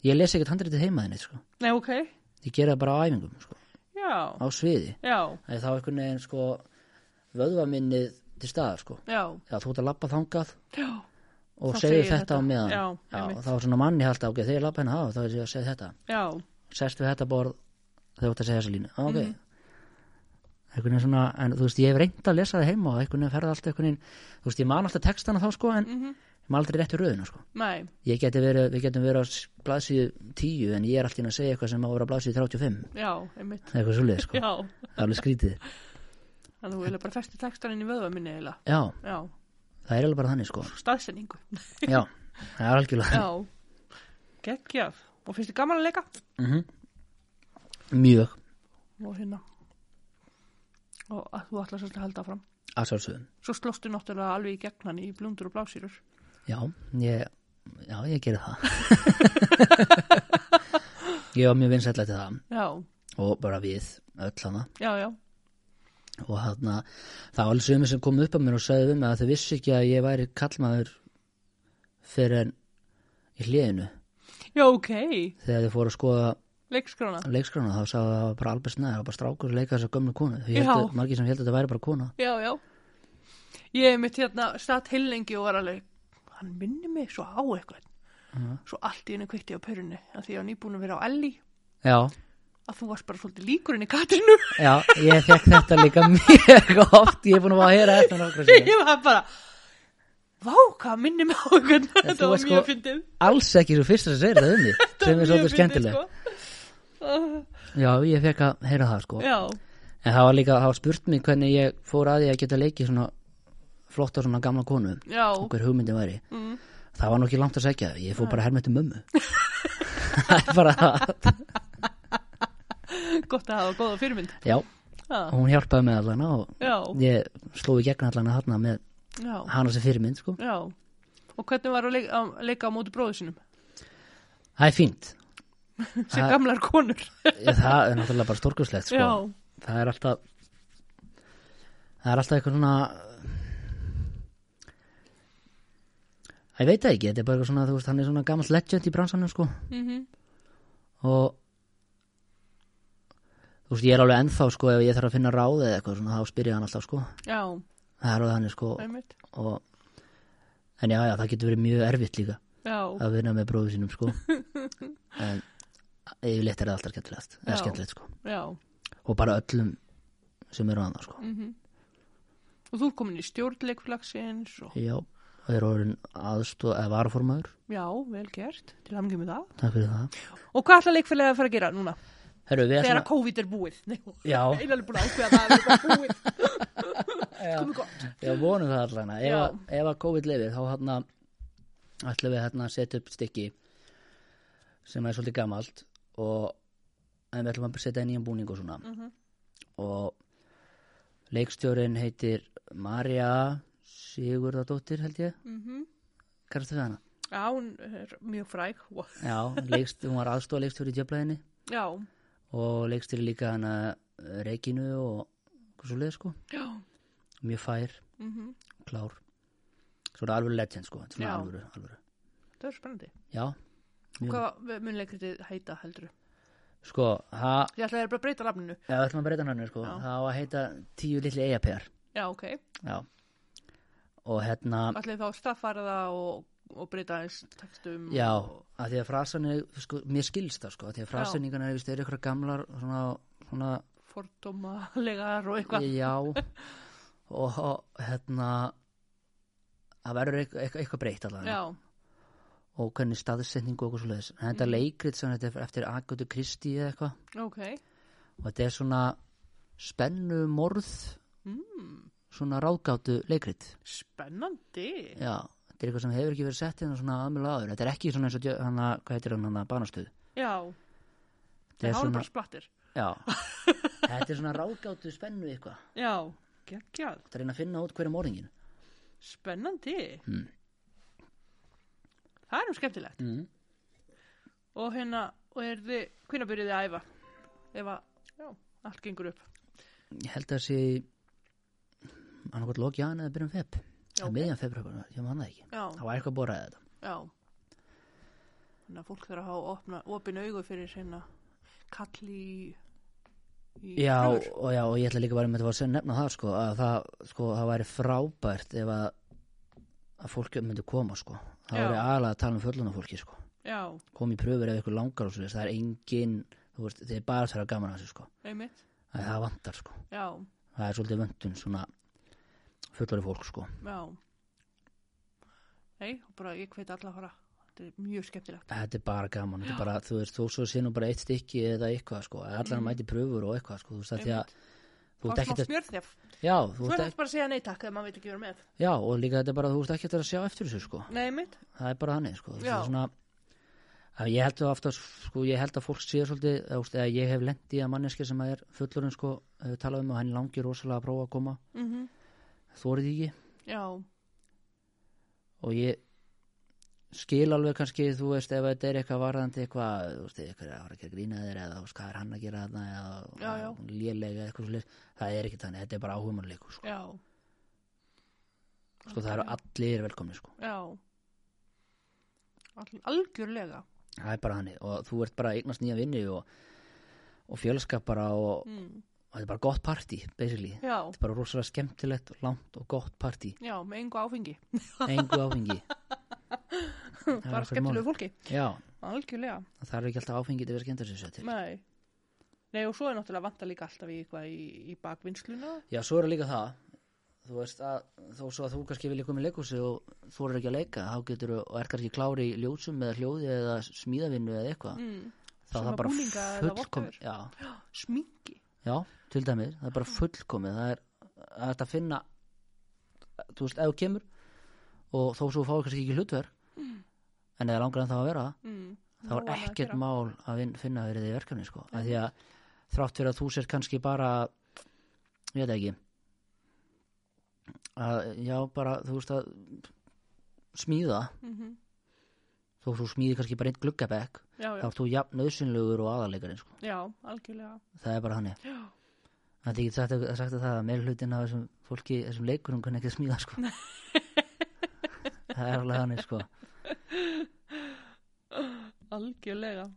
B: ég les ekkert handritið heimaðinni sko
A: nei, ok,
B: ég gera það bara á æfingum sko
A: já,
B: á sviði
A: já,
B: það er þá einhvern veginn sko vöðvaminnið til staðar sko
A: já,
B: já, þú ert að lappa þangað
A: já,
B: og
A: Þá
B: segir
A: segir
B: þetta,
A: þetta.
B: á meðan
A: Já,
B: já,
A: einmitt.
B: þá er svona manni halda ok, þegar ég lappa henni á þá er ég að segja þetta
A: já,
B: sest við þetta borð þegar þú ert að segja þessa línu ok
A: Mhm.
B: einhvern veginn svona, en þú veist ég hef reynd að lesa það heima og einhvern veginn ferða alltaf einhvern veginn þú veist ég man alltaf textana þá sko en mm
A: Mhm.
B: -hmm. aldrei réttu röðuna sko
A: nei,
B: ég geti verið, við getum verið á s- blaðsíðu 10 en ég er alltaf að segja eitthvað sem á að vera á blaðsíðu 35
A: já, einmitt,
B: eitthvað svolítið sko,
A: já,
B: það er alveg skrítið
A: þannig að þú vilja bara festi textan inn í vöðva minni eiginlega,
B: já,
A: já,
B: það er alveg bara þannig sko
A: staðsendingu,
B: já, það er algjörlega
A: já, geggjað, og finnst þið gaman að leika,
B: þannig Mhm. mjög,
A: og hérna, og að þú ætlar svolítið að halda áfram,
B: að sjálfsögum
A: svo slóstu náttúrulega alveg í gegnan í blundur og blásýrur,
B: já, ég já, ég gerði það ég var mjög vinsætlega til það
A: já,
B: og bara við öll hana
A: já, já,
B: og hana, það var alveg sömu sem kom upp að mér og sagði um að þau vissi ekki að ég væri kallmaður fyrir en í hliðinu
A: já, ok,
B: þegar þið fóru að skoða
A: leikskrána
B: leikskrána þá sagði það var bara Albert Snæður það var bara strákur að leika þessa gömlu konu Þau
A: Já.
B: héldu- margir sem held að þetta væri bara kona
A: já, já ég er mitt hérna satt heilengi og var alveg hann minni mig svo á eitthvað
B: Mhm.
A: svo allt í henni kveikti ég á pörunni að því ég var nýbúin að vera á Elli
B: já,
A: að þú varst bara svolítið líkurinn í katrinu
B: já, ég fekk þetta líka mjög oft ég er búin að fá að heyra þetta nokkru sinni
A: ég var bara vá, hvað minni mig á eitthvað
B: þú
A: þetta var
B: varst
A: mjög
B: sko-
A: fyndið
B: alls ekki svo fyrst að segja það um mig
A: Þetta
B: sem
A: var
B: er
A: mjög
B: svolítið
A: fyndið,
B: skemmtileg
A: sko.
B: já, ég fekk að heyra það sko
A: já,
B: en það var líka, það var spurt mig hvernig ég fór að því að geta leikið svona flotta svona gamla konu
A: já
B: og hver hugmyndi væri
A: mm.
B: það var nú ekki langt að segja, ég fór bara hermætti mömmu það er bara það
A: gott að hafa góða fyrirmynd
B: já,
A: já,
B: hún hjálpaði með allana og
A: já,
B: ég sló í gegn allana þarna með
A: já,
B: hana sem fyrirmynd sko.
A: já og hvernig var að leika, að leika á móti bróðu sinum
B: það er fínt,
A: sem
B: Það-
A: gamlar konur
B: Ég- það er náttúrulega bara stórkurslegt sko.
A: já,
B: það er alltaf það er alltaf eitthvað svona Æ, ég veit það ekki, þetta er bara eitthvað svona, þú veist, hann er svona gamall legend í bransanum, sko,
A: mm
B: og þú veist, ég er alveg ennþá, sko, ef ég þarf að finna ráð eða eitthvað svona, þá spyr ég hann alltaf, sko,
A: já
B: það er alveg hann, sko,
A: einmitt
B: og, en já, já, það getur verið mjög erfitt líka
A: já,
B: að vinna með bróðu sínum, sko, en yfirleitt er það alltaf skemmtilegt,
A: Já.
B: eða skemmtilegt, sko,
A: já
B: og bara öllum sem eru annað, sko.
A: mm og þú er komin í stjórnleikflagsins og
B: Já, og er orðin aðstóð eða varaformaður,
A: já, vel gert til að með það
B: takk fyrir það
A: og hvað ætla leikfélagi að fara að gera núna
B: Herru, við
A: þegar
B: ætlum
A: að COVID er búið Nei,
B: Já,
A: eiginlega búin að ákveða það er þetta búið komið gott
B: ég vonum það allan ef,
A: Já.
B: að- ef að COVID lifir þá hann ætlum við hérna að setja upp stykki sem er svolítið gamalt og en við ætlum að setja í nýjan búning og svona
A: Mhm.
B: og leikstjórin heitir Marja Sigurðardóttir held ég,
A: Mhm.
B: hvað er þetta við hana?
A: já, hún er mjög fræg Wow.
B: Já, leikst, hún var aðstóð leikstjóri í djöflaðinni
A: já,
B: og leikstýri líka hana eh, Regínu og hvað svo leið sko
A: já
B: mjög fær,
A: mm
B: klár svona alveg legend sko, þetta er svona
A: Já.
B: alvöru, alvöru
A: það er spennandi
B: já,
A: og
B: Mjög.
A: hvað mun leikritið heita heldur
B: sko, það
A: ég ætla að bara að breyta lafninu
B: ja, ætlum að breyta hann sko,
A: Já.
B: það á að heita tíu litli eigapér
A: já, ok
B: já og hérna,
A: ætla þá að staðfara það og, og breyta eins textum
B: já
A: og,
B: að því að frasanir, sko, mér skilst það sko, að því að frasanningarna er, er ykkur gamlar svona, svona,
A: fordómalegar og eitthvað
B: já og, og hérna það verður eitthvað, eitthvað- eitthvað breytt allavega
A: já,
B: og hvernig staðsetningu og eitthvað svo leiðis en þetta
A: Mhm.
B: leikrit sem þetta er eftir Agatha Christie eða eitthvað
A: ok
B: og þetta er svona spennu morð
A: mm,
B: svona ráðgátu leikrit
A: spennandi
B: já, þetta er eitthvað sem hefur ekki verið sett hérna svona aðmjölu áður, þetta er ekki svona eins og djö- hana, hvað heitir hann hana, banastöð
A: já, það
B: þetta er
A: er
B: svona,
A: bara splattir
B: já þetta er svona ráðgátu spennu eitthvað
A: já, geggjað
B: þetta er að reyna að finna út hverja morðingin
A: Spennandi
B: Mm.
A: Það er um skemmtilegt
B: mm.
A: Og hérna, og er þið, hvenær byrjuð þið að æfa? Ef að, já, allt gengur upp
B: ég held að sé annarkot loki hann eða byrjum feb
A: ok.
B: okay. meðjan februar, ég man það ekki
A: Já,
B: það var eitthvað að bóra þetta
A: já Þannig að fólk þarf að hafa opna, opin augu fyrir hérna kall í, í
B: Já,
A: flugvél.
B: og já, og ég ætla líka bara með að nefna það sko, að það, sko, það væri frábært ef að, að fólk myndi koma sko. það
A: Já.
B: væri aðalega að tala um fulluna fólki sko.
A: Já,
B: kom í pröfur ef ykkur langar og svo það er engin, þú veist, þið er bara þar að gaman að þessu sko.
A: einmitt
B: það, það vantar, sko.
A: Já,
B: það er svolítið vöntun svona fullari fólk sko.
A: já Nei, og bara ég hveit alla að fara Þetta er mjög skemmtilegt
B: þetta er bara gaman, þetta er bara, þú veist, þú svo sé nú bara eitt stykki eða eitthvað, sko, að allar mæti pröfur og eitthvað, sko, þú veist, af því að þú ert
A: Mm. Fá smá
B: ekkert að,
A: smjörþef
B: já, þú
A: Svo er
B: ert
A: þetta bara að segja nei takk ef maður veit ekki vera með
B: ekki já, og líka þetta er bara, þú ert ekkert að sjá eftir þessu, sko
A: Nei, einmitt
B: það er bara þannig sko. það
A: Já.
B: er svona að ég held að, aftur, sko, ég held að fólk sé svolítið eða, þú veist, eða ég hef lent í að manneski sem er fullurinn sko, eh, tala um og hann langir rosalega að prófa að koma
A: mm
B: þórið ekki
A: Já,
B: og ég skil alveg kannski þú veist ef þetta er eitthvað varðandi eitthvað þú veist eitthvað er að fara ekki að grína þér eða þú veist hvað er hann að gera þarna
A: Já, já.
B: eða lélega eitthvað svolítið það er ekki þannig þetta er bara áhugmanleikur sko.
A: já,
B: sko það eru allir velkomni sko
A: já All, algjörlega
B: það er bara hannig og þú ert bara að eignast nýja vinni og, og fjölskap bara og,
A: Mm.
B: og þetta er bara gott party basically,
A: Já,
B: þetta er bara rosalega skemmtilegt og langt og gott party,
A: já, með engu áfengi.
B: engu áfengi Það er
A: Bara
B: akkurat málið.
A: skemmtilegu fólki.
B: já,
A: Algjörlega.
B: það er ekki alltaf áfengi til að vera skemmtilega
A: Nei. Nei, og svo er náttúrulega vanta líka alltaf í eitthvað í, í bakvinnsluna.
B: já, svo er líka það þú veist að þó svo að þú kannski vilja koma í leikhúsi og þú eru ekki að leika þá getur og er kannski klári í ljósum eða hljóði eða smíðavinnu eða eitthvað
A: Mm.
B: þá það
A: Svona
B: er bara
A: búninga eða
B: fullkom-
A: whatever.
B: já,
A: Smingi.
B: Já, til dæmis, það er bara fullkomið það er það er hægt að finna þú veist, ef þú kemur og þó svo þú fáir kannski ekki hlutverk en eða langar en það að vera það
A: Mm.
B: þá
A: Nóg
B: er
A: annað að
B: ekkert
A: gera.
B: mál að vin- finna fyrir því verkefni sko, af því að þrátt fyrir að þú sér kannski bara ég veit ekki að, já, bara, þú veist að smíða
A: Mhm.
B: þó þú smíði kannski bara einn gluggabekk
A: Já,
B: þá
A: já,
B: ert þú jafn nöðsynlegur og aðarleikarinn sko,
A: já, algjörlega.
B: það er bara hannig
A: Já.
B: Það er ekki sagt, sagt að það að meira hlutin af þessum fólki, þessum leikurum kann ekki að smíða sko. það er alveg hannig sko.
A: Algjörlega.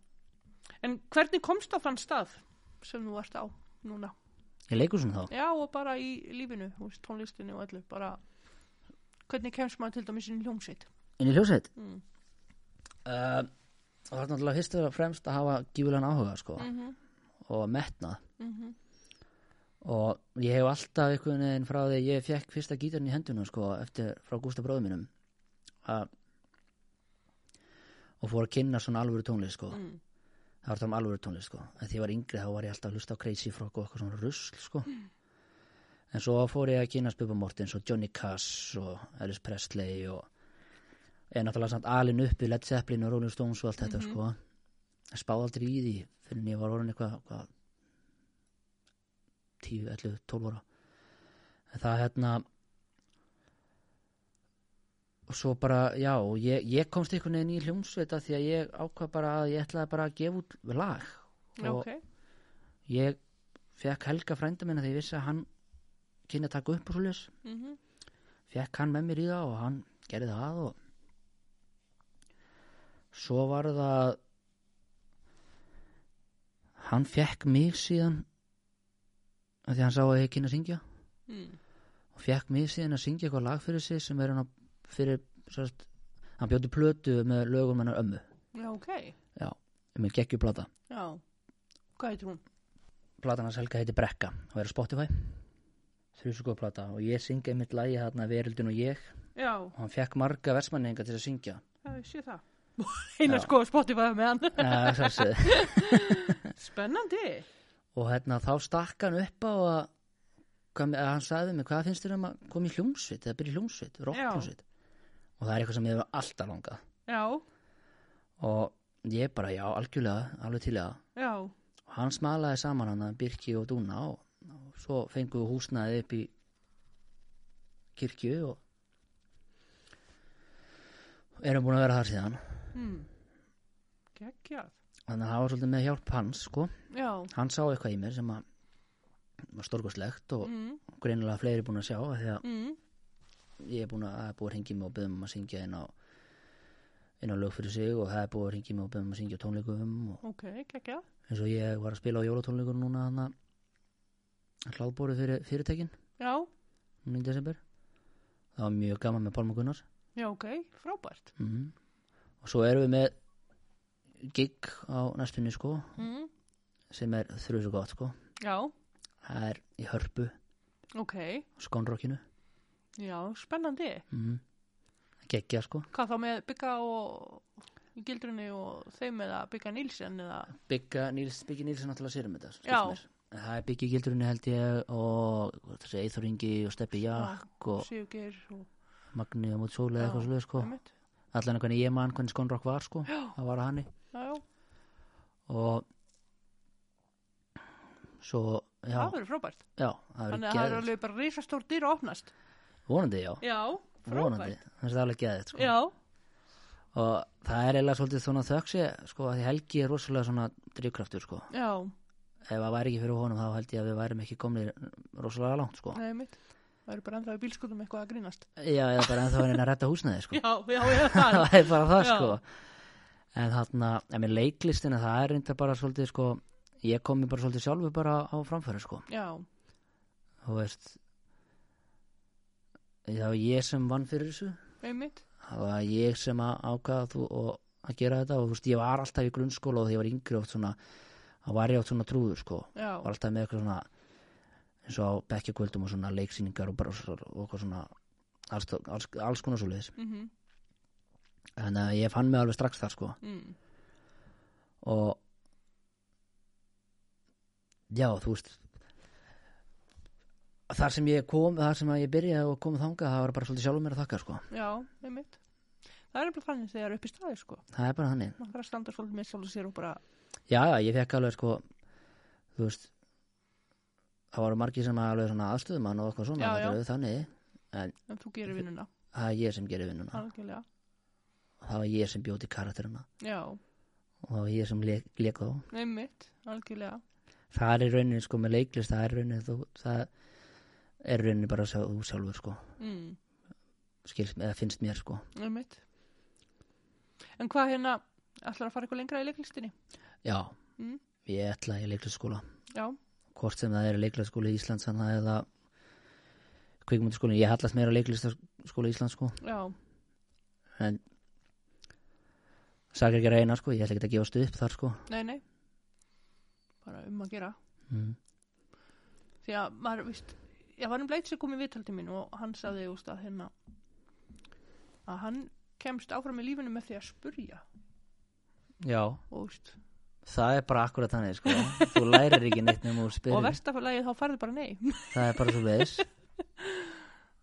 A: En hvernig komst á þann stað sem þú vart á núna?
B: Ég leikur svona þá.
A: Já, og bara í lífinu, þú veist, tónlistinu og öllu, bara hvernig kemst maður til dæmis inn í hljómsveit?
B: En í hljósveit,
A: Mm.
B: uh, það er náttúrulega fyrst og fremst að hafa gífulegan áhuga sko,
A: Mm -hmm.
B: og metnað. Og ég hef alltaf einhvern veginn frá því ég fekk fyrsta gítarinn í hendunum sko, eftir frá Gústa bróðum mínum að og fór að kynna svona alvöru tónlist sko.
A: Mm.
B: það var það um alvöru tónlist sko. en því ég var yngri þá var ég alltaf að hlusta á Crazy Frog og eitthvað svona rusl sko. en svo fór ég að kynna Bubba Mortens og Johnny Cass og Elvis Presley og ég er náttúrulega samt alin upp í Led Zeppelin og Rolling Stones og allt þetta sko. en spáði aldrei í því fyrir en ég var orðin eitthvað hvað, 10, 11, 12 ára en það hérna og svo bara, já, og ég, ég komst einhvern veginn í hljómsveita því að ég ákvað bara að ég ætlaði bara að gefa út lag
A: Já, ok.
B: ég fekk Helga frænda minna því ég vissi að hann kynni að taka upp og svo les
A: Mm
B: fekk hann með mér í það og hann gerði það og svo var það hann fekk mig síðan af því að hann sá að ég kynna að syngja
A: Mm.
B: og fekk mig síðan að syngja eitthvað lag fyrir sig sem er hann að fyrir sérst, hann bjóti plötu með lögum hennar ömmu
A: Já, ok.
B: já, með geggju plata
A: Já. Hvað heitir hún?
B: platan hans Helga heiti Brekka og er á Spotify þrjusugóð plata og ég syngi einmitt lagi þarna Verildin og ég
A: Já,
B: og hann fekk marga versmanninga til að syngja
A: já, ég sé það. Einar sko Spotify með hann.
B: Eh, sjálfsögðu.
A: Spennandi.
B: og hérna þá stakk hann upp á að hvað, að hann sagði mig hvað finnst þér um að koma í hljómsveit eða byrja í hljómsveit, rockhljómsveit og það er eitthvað sem ég hefur alltaf langað
A: Já,
B: og ég bara já, algjörlega, alveg til í það
A: já,
B: og hann smalaði saman hann að Birki og Dúna og, og svo fengu húsnaði upp í kirkju og erum búin að vera þar síðan
A: mm. geggjað.
B: þannig að það var svolítið með hjálp hans sko.
A: Já,
B: hann sá eitthvað í mér sem að var stórkoslegt og
A: mm.
B: greinilega fleiri búin að sjá af því að
A: Mm.
B: ég er búin að, það er búið að ringi mig og beðum um að syngja inn á inn á lög fyrir sig og það er búið að ringi mig og beðum um að syngja á tónleikum og
A: ok, geggjað.
B: eins og ég var að spila á jólatónleikum núna hann að hláðbóru fyrir fyrirtækin
A: Já,
B: núna í desember það var mjög gaman með Pálma Gunnars
A: já, ok, frábært.
B: mm og svo erum við með gig á næstunni sko
A: Mm.
B: sem er þrjus og gott sko
A: Já,
B: það er í hörpu
A: ok,
B: skónrokkinu
A: já, spennandi.
B: mm. geggja sko
A: Hvað þá með bygga og í gildrunni og þeim eða bygga Nílsen eða,
B: Bigga, Níls, Biggi Níls er náttúrulega sér um þetta skilst
A: Já.
B: mér. Það er Biggi Gildurinn held ég og þessi Eithor Ingi og Steppi Jakk og
A: Sigurgeir og
B: Magni og Mót Sól eða
A: Já,
B: eitthvað svolítið sko
A: einmitt.
B: allan hvernig ég man hvernig Skonrock var sko það var að hanni
A: Já, já,
B: og svo já,
A: það verður frábært.
B: já það
A: Þannig
B: verið
A: að það er
B: geðið
A: alveg bara risastór dýr að opnast.
B: vonandi já,
A: Já,
B: vonandi
A: frábært.
B: þannig að það er alveg geðið sko.
A: Já,
B: og það er eiginlega svolítið svona þöksi sko að því Helgi er rosalega svona drivkraftur sko
A: já,
B: ef það væri ekki fyrir honum þá held ég að við værum ekki komnir rosalega langt sko
A: það er mitt. Það eru bara ennþá í bílskutum eitthvað að grínast.
B: já, eða bara ennþá er henni að retta húsnaði sko
A: Já, já, já, það er.
B: það er bara það
A: Já.
B: sko en þarna, en með leiklistina það er reynda bara svolítið sko ég komi bara svolítið sjálfu bara á framfæri sko
A: já,
B: þú veist það var ég sem vann fyrir þessu
A: einmitt
B: það var ég sem að ákvaða þú og að gera þetta og þú veist ég var alltaf í grunnskóla og þegar ég var yngri oft svona þá var ég oft svona trúður sko
A: já,
B: var alltaf með eitthvað svona eins og á bekkjakvöldum og svona leiksýningar og bara svo- og eitthvað svona alls, alls, alls konar svo leiðis
A: mhm,
B: en uh, ég fann mig alveg strax þar sko
A: mm.
B: og já þú veist þar sem ég kom þar sem að ég byrjaði og kom þangað það var bara svolítið sjálfum mér að þakka sko
A: já, einmitt það er bara þannig þegar upp í staði sko
B: það er bara hannig
A: maður þarf að standa svolítið með sjálf og sér og bara
B: já já ég fekk alveg sko þú veist það var margir sem að alveg svona aðstöðumann og eitthvað
A: Já,
B: svona
A: já.
B: þetta er auðvitað þannig
A: en þú gerir vinnuna,
B: það er ég sem gerir vinnuna
A: algjörlega
B: það var ég sem bjóti karakterina
A: já,
B: og það var ég sem leik, leik þá
A: einmitt, algjörlega
B: það er í rauninni sko með leiklist það er í rauninni þú, það er í rauninni bara sjá, þú sjálfur sko
A: mm.
B: skilst, eða finnst mér sko
A: einmitt en hvað hérna, ætlar að fara eitthvað lengra í leiklistinni
B: já,
A: Mm.
B: ég ætla í leiklistskóla
A: já,
B: hvort sem það er leiklistskóla í Íslands þannig eða kvikmyndaskóla ég hallast meira leiklistskóla í Íslands sko
A: já,
B: en sakir ekki að reyna sko, ég ætla ekki að gefast upp þar sko
A: nei, nei bara um að gera
B: mm.
A: því að maður, víst, ég var um bleit sem kom í viðtaldi mín og hann saði úst að hérna að hann kemst áfram í lífinu með því að spurja
B: já,
A: og, úst,
B: það er bara akkurat þannig sko þú lærir ekki neitt nema úr
A: og
B: spyrir
A: verstafalagi þá farði bara nei
B: það er bara svo leiðis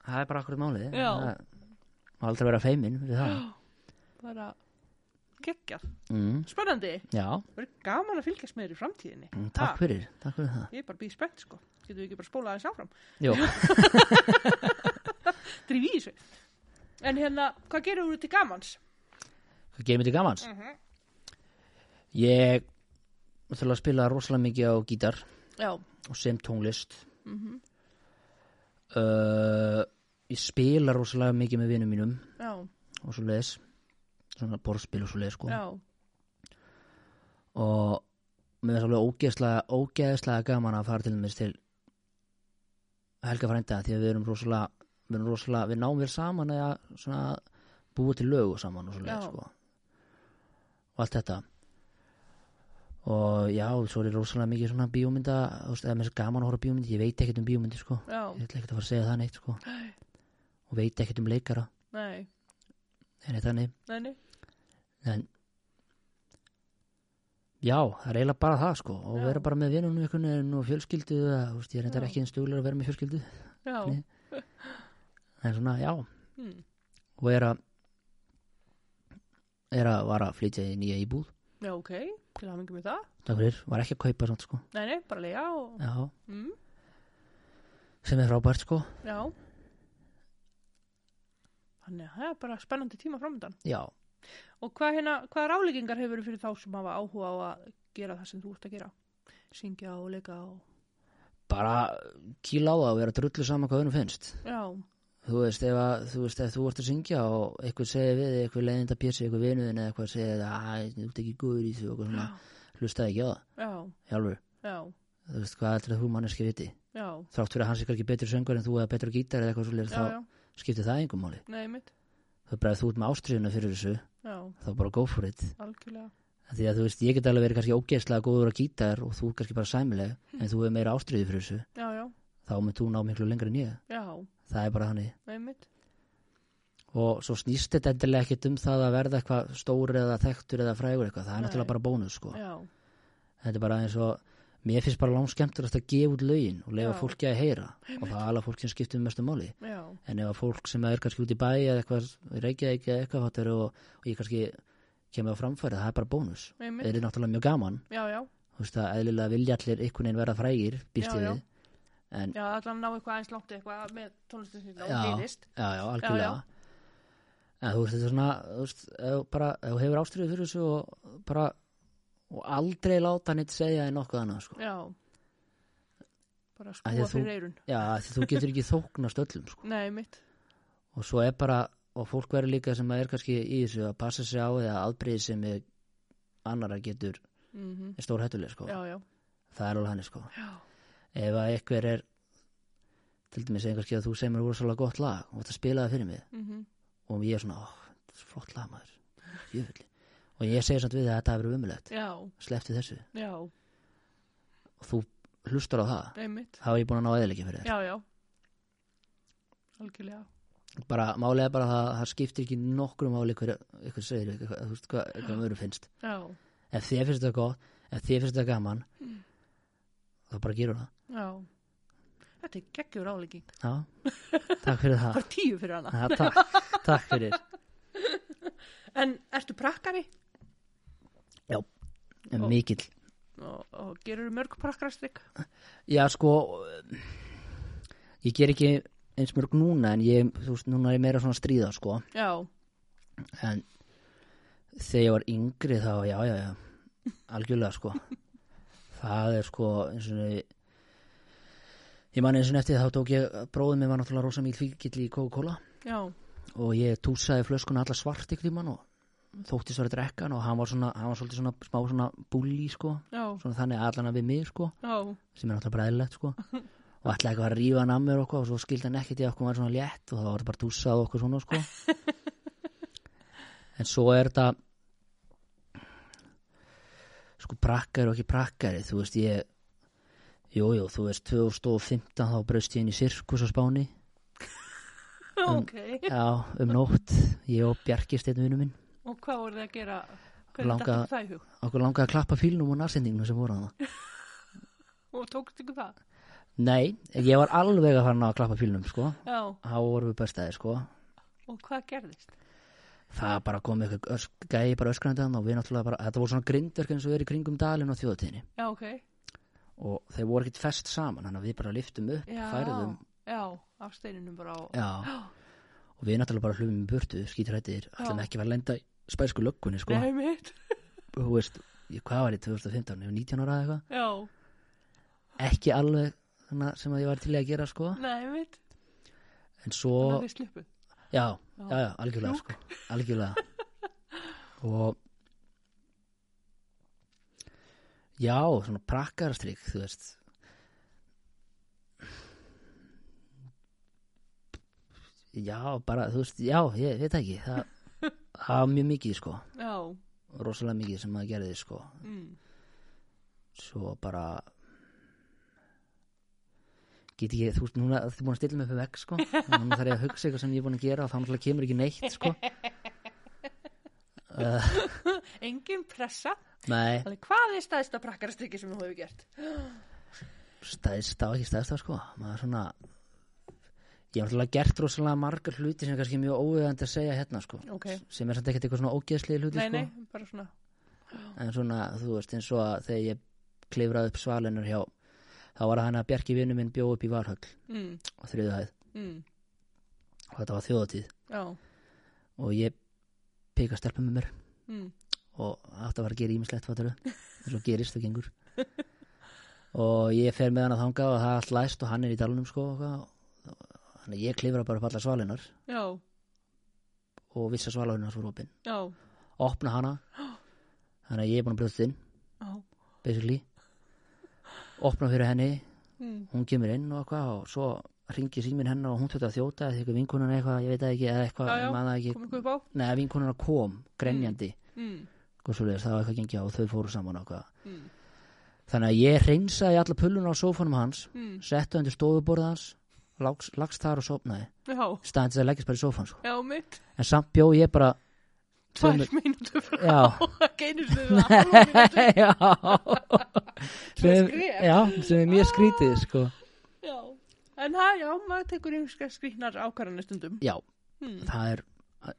B: það er bara akkurat málið
A: Já.
B: það má aldrei vera feiminn fyrir það
A: bara geggjað,
B: mm.
A: spennandi
B: já,
A: verður gaman að fylgjast með þér í framtíðinni
B: mm, takk
A: Ha,
B: fyrir takk fyrir það
A: ég er bara býð spennt sko, getum við ekki bara spólað þess áfram
B: Jó.
A: drif í þessu en hérna, hvað gerir þú til gamans?
B: hvað gerir mér til gamans?
A: Mm -hmm.
B: ég þurfa að spila rosalega mikið á gítar
A: já,
B: og sem tónlist
A: mm
B: uh, ég spila rosalega mikið með vinum mínum
A: já,
B: og svo leiðis svona borðspil og svo leiðis sko
A: já
B: og mér finnst alveg ógeðslega, ógeðslega gaman að fara til mér til Helga frænda því að við erum rosalega, við, erum rosalega, við náum vel saman eða svona búið til lögu saman og svoleið
A: Já.
B: sko. og allt þetta og já, svo er rosalega mikið svona bíómynda þú veist, eða mér finnst gaman að horfa á bíómynda ég veit ekkert um bíómyndi sko
A: já,
B: ég ætla ekkert að fara að segja það neitt sko og veit ekkert um leikara
A: nei,
B: en þannig
A: nei, nei
B: en já, það er eiginlega bara það sko og
A: Já.
B: vera bara með vinunum einhvern veginn og fjölskyldu eða, þú veist, ég er reyndar
A: Já.
B: ekki einn stuglar að vera með fjölskyldu
A: já,
B: Nei. en svona, já,
A: mm.
B: og er að er að var að flytja í nýja íbúð
A: já ok til að mingi með það,
B: það fyrir, var ekki að kaupa samt sko
A: nei, nei, bara lega og
B: já,
A: mm.
B: sem er frábært sko
A: já þannig að það er bara spennandi tíma framöndan
B: já,
A: Og hvað, hérna, hvaða ráleggingar hefur fyrir þá sem hafa áhuga á að gera það sem þú ert að gera? Syngja og leika og...
B: bara kýla á það og vera drullu saman hvað öðrum finnst
A: Já,
B: þú veist, ef, að, þú veist, ef þú ert að syngja og eitthvað segir við, þig, eitthvað leiðinda pjessi eitthvað vinuðin eða eitthvað segir að þú ert ekki góður í því og eitthvað svona, hlustaði ekki á það
A: já,
B: hjálfur
A: já,
B: þú veist hvað ætlir að þú manneski viti
A: já,
B: þrátt fyrir að hans er kannski betur söngur en þú eða betur gítar eða eitthvað svolítið
A: já, já,
B: þá skiptir það engum máli
A: nei mitt,
B: það er bara að þú ert með ástriðuna fyrir þessu
A: já,
B: þá bara go for it
A: algjörlega,
B: Af því að þú veist ég get alveg verið kannski ógeðslega góður á gítar og þú kannski bara sæmileg
A: Mm.
B: en þú hefur meira ástriði fyrir þessu
A: já, já,
B: þá mun þú ná miklu lengra en ég
A: já,
B: það er bara hannig
A: nei mitt,
B: og svo snýst þetta endilega ekkit um það að verða eitthvað stór eða þekktur eða frægur eitthvað það er
A: Nei.
B: náttúrulega bara bónus sko
A: já,
B: þetta er bara eins og mér finnst bara langskemmtur að gefa út lögin og lefa
A: Já.
B: fólki að heyra og það er alveg fólk sem skiptir mestu máli
A: já,
B: en ef að fólk sem er kannski út í bæ eða eitthvað, reykja ekki eða eitthvað fattur og, og ég kannski kemur á framfæri það er bara bónus,
A: nei
B: það
A: mitt,
B: er náttúrulega mjög gaman
A: já, já,
B: þú veist að eðlilega vilja allir einhvern veginn vera frægir, býst
A: Já,
B: ég
A: já.
B: við en já,
A: já, allan ná eitthvað eins langt eitthvað með tónlistin sinna
B: Já.
A: og líðist,
B: já, algjörlega en þú veist þetta er svona þú veist, ef, bara, ef þú hefur ástriðu fyrir þessu og bara og aldrei láta neitt segja en nokkuð annað sko.
A: já, bara
B: Af
A: spúa
B: því að þú-
A: fyrir eirun,
B: já, af því þú getur ekki þóknast öllum sko.
A: nei mitt,
B: og svo er bara og fólk verður líka sem er kannski í þessu að passa sig á eða aðbreyði sem er annara getur
A: mhm,
B: er stór hættuleg sko
A: já, já,
B: það er alveg hann sko
A: já,
B: ef að einhver er til dæmis einhver skil að þú semur úrsalega gott lag og það spilaði fyrir mig
A: mhm,
B: og ég er svona, ó, þetta er flott lag maður jöfulli og ég segi samt við að þetta hafi verið umulegt
A: já,
B: sleppti þessu
A: já,
B: og þú hlustar á það
A: einmitt,
B: þá er ég búin að ná eðilegja fyrir þér
A: já, já, algjörlega,
B: bara málega bara það, það skiptir ekki nokkru máli hver, hver segir, hver, þú veist hvað, hvað mörgum finnst
A: já,
B: ef þið finnst þetta gott, ef þið finnst þetta gaman þá bara gerur það
A: já, þetta er geggjur álegging,
B: já, takk fyrir það
A: bara tíu fyrir hana,
B: já, takk, takk fyrir
A: en ertu prakkari
B: já, en mikill
A: og, og gerur mörg prakkarastrik,
B: já sko ég ger ekki eins mörg núna en ég, þú veist, núna er ég meira svona að stríða sko,
A: já,
B: en þegar ég var yngri þá, já, já, já algjörlega sko það er sko eins og ég ég man eins og eftir þá tók ég bróðið mér var náttúrulega rosa mjög fíkill í Coca-Cola
A: já,
B: og ég túsaði flöskuna alla svart ykkur í mann og þóttist verið drekkan og hann var svona, hann var svolítið svona smá svona bulli sko,
A: já,
B: svona þannig allan að við mig sko,
A: já,
B: sem er náttúrulega bara eðlilegt sko og ætlaði eitthvað að rífa hann að mér og, eitthvað og svo skildi hann ekkert í að okkur var svona létt og það var bara túsað okkur svona sko en svo er þetta sko prakkari og ekki prakkari þú veist ég jújú, jú, þú veist 2015 þá braust ég inn í sirkus á Spáni
A: ok,
B: já, um nótt, ég og Bjarki steinu vinnu minn,
A: og hvað voru þið að gera, hvernig
B: Langa-
A: datt ykkur það í hug,
B: okkur langaði að klappa fílnum og narsendingum sem voru hann
A: og tókst ykkur það,
B: nei, ég var alveg að fara að ná að klappa fílnum sko,
A: já,
B: þá vorum við bestaði sko
A: og hvað gerðist,
B: það bara kom eitthvað ösk, gæi bara öskrandi hann og við náttúrulega bara, þetta voru svona grindverk eins og er í kringum dalinn á þjóðatíðinni
A: já, ok,
B: og þeir voru ekkert fest saman þannig að við bara liftum upp,
A: já,
B: færðum
A: já, af steininum bara á,
B: um. já. og við náttúrulega bara hlumum í burtu skítrættir, ætlum
A: Já.
B: ekki að vera að lenda í spæsku löggunni sko,
A: nei mitt,
B: þú veist ég, hvað var ég 2015, ég var 19 ára eða eitthvað
A: já,
B: ekki alveg þannig að- sem að ég var til í að gera sko
A: nei mitt,
B: en svo,
A: þannig að þið sluppu,
B: já,
A: Já.
B: já, já, algjörlega sko, algjörlega og já, svona prakkarastrykk, þú veist já, bara, þú veist já, ég veit ekki, það það var mjög mikið, sko,
A: já,
B: rosalega mikið sem maður gerði, sko
A: mm,
B: svo bara get ekki, þú veist, núna þið er búin að stilla mig upp vekk, sko núna þarf ég að hugsa eitthvað sem ég er búin að gera og þá náttúrulega kemur ekki neitt, sko
A: engin pressa,
B: nei,
A: þannig hvað er staðista prakkarastriki sem þú hefur gert,
B: stæðst á ekki stæðst á sko maður svona ég hef náttúrulega gert rosalega margar hluti sem er kannski mjög óviðandi að segja hérna sko
A: Ok.
B: sem er samt ekkert eitthvað svona ógeðslega hluti
A: nei,
B: sko
A: nei, bara svona,
B: en svona þú veist eins og að þegar ég klifraði upp svalinur hjá þá var það hann að Bjarki vinnu minn bjó upp í Valhöll
A: mm,
B: á þriðu hæð
A: mm,
B: og þetta var þjóðatíð
A: já,
B: og ég pika stelpa með mér
A: mm,
B: og átti að fara að gera ímislegt fattaru eins og gerist og gengur og ég fer með hann að þanga og það er allt læst og hann er í dalunum sko og hvað. þannig að ég klifra bara upp alla svalinar
A: já,
B: og vissa svalahurinn hans voru opinn
A: já,
B: opna hana þannig að ég er búin að brjóðst inn
A: já,
B: basically opna fyrir henni,
A: mm,
B: hún kemur inn og eitthvað og svo ringi síminn hennar og hún þurfti að þjóta eða eitthvað vinkonan eitthvað, ég veit það ekki eða eitthvað,
A: Já, já,
B: maður það ekki,
A: kom ykkur upp á,
B: neða vinkonan kom grenjandi,
A: mm,
B: hvað svo það var eitthvað gengja og þau fóru saman og eitthvað
A: mm,
B: þannig að ég reynsaði alla pulluna á sófanum hans
A: mm,
B: settu undir stofuborð hans lagst, lagst þar og sopnaði
A: já,
B: staðan til að leggjast bara í sófan sko.
A: já, mitt,
B: en samt bjó ég bara
A: tvær
B: Tveimur-
A: mínútur frá,
B: já,
A: ekki einu sinni það, hálfa mínútu.
B: já
A: Sem er
B: sem,
A: skref.
B: já, sem er mjög skrítið sko.
A: já, en það, já, maður tekur einhverska skrýtnar ákvarðanir stundum,
B: já,
A: mm,
B: það er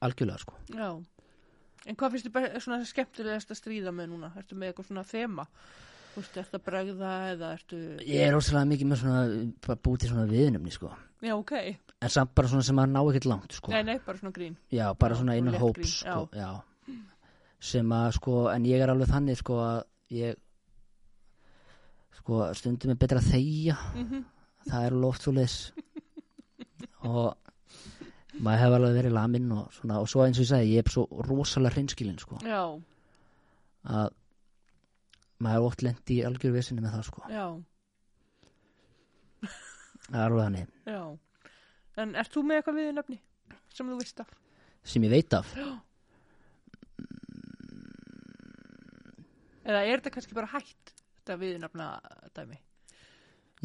B: algjörlega sko.
A: já, En hvað finnst þið svona skemmtilegast að stríða með núna? Ertu með eitthvað svona þema? Þú veist, ertu að bregða eða ertu...
B: ég er óslega mikið með svona bara búið til svona viðnumni sko.
A: Já, ok.
B: en samt bara svona sem að ná ekkert langt sko.
A: Nei, nei, bara svona grín.
B: já, bara
A: Já,
B: svona
A: svona
B: innan
A: létt grín,
B: hóps sko. já. sem að sko en ég er alveg þannig sko að ég sko stundum er betra að þegja
A: Mhm.
B: það er loft svo leis og maður hefur alveg verið laminn og svona og svo eins og ég sagði, ég er svo rosalega hreinskilinn sko
A: Já,
B: að maður er ótt lent í algjör vissinni með það sko
A: já,
B: það er alveg þannig
A: já. En ert þú með eitthvað við nöfni sem þú veist af?
B: sem ég veit af
A: Eða er þetta kannski bara hætt þetta viðnafna dæmi?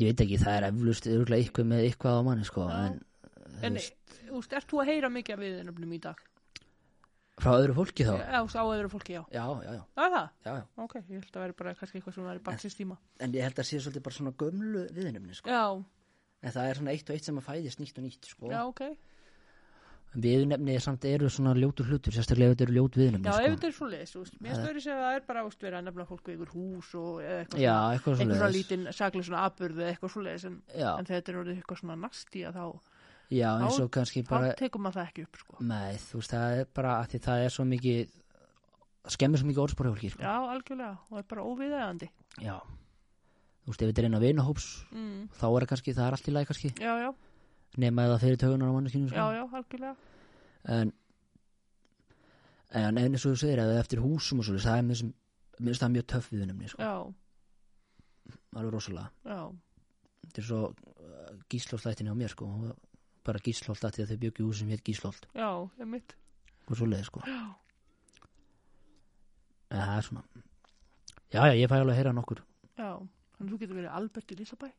B: ég veit ekki það er eflust örgulega eitthvað með eitthvað á manni sko
A: Já.
B: en
A: En úst, ert þú að heyra mikið af viðnafnum í dag?
B: frá öðru fólki þá já
A: Eða úst, á öðru fólki, já.
B: já já,
A: Það er það?
B: já, já.
A: Ok, ég held að vera bara kannski eitthvað sem var í baksins tíma.
B: en ég held að sé svolítið bara svona gömlu viðnumni sko.
A: Já,
B: en það er svona eitt og eitt sem að fæðist nýtt og nýtt sko.
A: já, ok.
B: en viðnumni samt eru svona ljótu hlutur sérstaklega ef þetta eru ljót
A: Já,
B: viðnumni
A: ef
B: sko.
A: þetta er svo leiðis, úst. Mér stöður þess að það er bara úst, verið að nefna fólk við ykkur hús og eða eitthvað
B: já
A: svona-
B: eitthvað
A: einhver
B: svona
A: svona lítinn saklega svona aburð eða eitthvað svo leiðis en,
B: já,
A: en þegar þetta er orðið eitthvað svona nasti að þá,
B: já eins og
A: þá-
B: kannski
A: þá
B: bara
A: tekum maður það ekki upp sko.
B: Nei, þú veist, það er bara að því það er svo mikið skemmir svo mikið orðspor hjá fólki, sko.
A: Já, algjörlega, og er bara óviðægandi
B: Já. Þú veist, ef þetta er einn að vinahóps
A: mm.
B: þá er það kannski, það er allt í lagi kannski
A: Já, já,
B: nema eða fyrir tögunar á manneskinu, sko.
A: já, já, algjörlega
B: En, en eins og þú segir, eða eftir húsum og svolítið, það er mér sem, mér finnst það mjög töff viðunumni, sko.
A: Já,
B: Alveg rosalega.
A: já,
B: Þetta er svo uh, gíslóldættin hjá mér, sko. Hún var Bara gíslóld að því að þau byggju húsum hér gíslóld
A: já, er mitt
B: og svolítið, sko.
A: Já,
B: En það er svona. Já, já, ég fæ alveg að heyra nokkur.
A: já, þannig að þú getur verið Albert í Lísabæ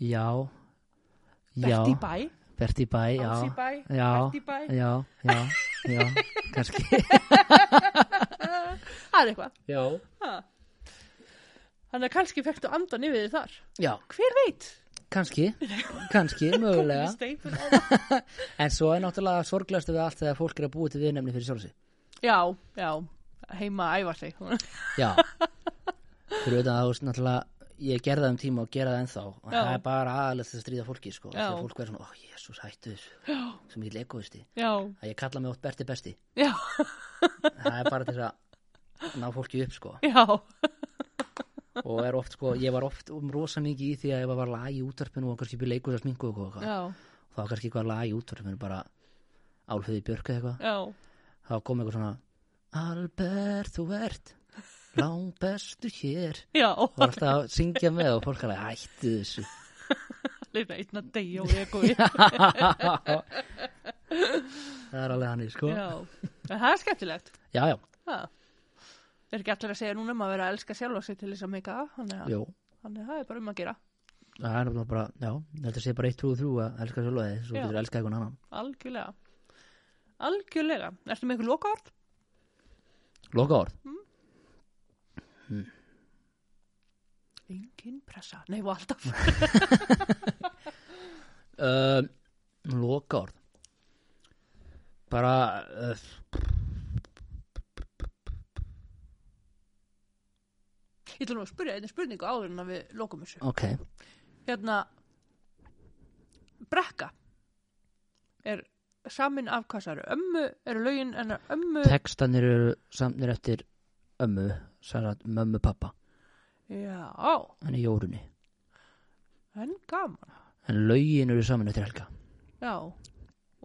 B: Já. Já.
A: Berti Bæ,
B: Berti Bæ, já.
A: Ási Bæ,
B: Já.
A: Berti Bæ
B: Já, já, já, kannski.
A: Það er eitthvað
B: Já.
A: ha. Þannig að kannski fektu andan yfir þið þar
B: Já,
A: Hver veit?
B: kannski, kannski, mögulega.
A: Steipur á
B: En svo er náttúrulega sorglegast við allt þegar fólk er að búa til viðnefni fyrir sjálfsi.
A: Já, já, heima að æfa sig
B: Já. Fyrir auðvitað að þú veist náttúrulega, ég gerði það um tíma og gera það ennþá. Og
A: Já.
B: það er bara aðalegt að stríða fólki, sko.
A: Já.
B: Þegar fólk verður svona, ó, jésús, hættu þessu.
A: Já.
B: Svo mikið legoðusti.
A: Já,
B: Það ég kalla mig ótt Berti Besti.
A: já,
B: Það er bara til þess að ná fólki upp, sko.
A: já
B: Og er oft, sko, ég var oft um rosa mikið í því að ég var lag í útarpinu og kannski byrja leikur að sminku og eitthvað.
A: Já,
B: þá var kannski eitthvað lag í útvarpinu bara Álfhöði Björk eða eitthvað
A: já,
B: þá kom eitthvað svona Albert þú ert langbestu hér
A: já
B: og var alltaf að syngja með og fólk alveg hættu þessu
A: Leita einn að deyja og ekkuði
B: það er alveg hann í sko já,
A: Já, en það er skemmtilegt
B: já,
A: ha. Er ekki allir að segja núna um að vera að elska sjálfa sig til þess að meika af Þannig að
B: jú
A: þannig að það er bara um að gera
B: það er náttúrulega bara, já, þetta sé bara eitt trú og þrú að elska sjálf og þið, svo
A: Já.
B: getur elska eitthvað annan
A: Algjörlega Algjörlega, ertu með ykkur lokaord?
B: loka orð,
A: Engin pressa, nei og alltaf
B: um, loka orð bara uh,
A: Ég ætla nú að spyrja einnig spurningu áður en að við lokum þessu
B: ok,
A: hérna brekka er samin af hvað það eru ömmu, eru lögin en ömmu
B: textanir eru samnir eftir ömmu, særat mömmu pappa
A: já,
B: hann er jórunni
A: en gaman
B: en lögin eru saman eftir Helga
A: já,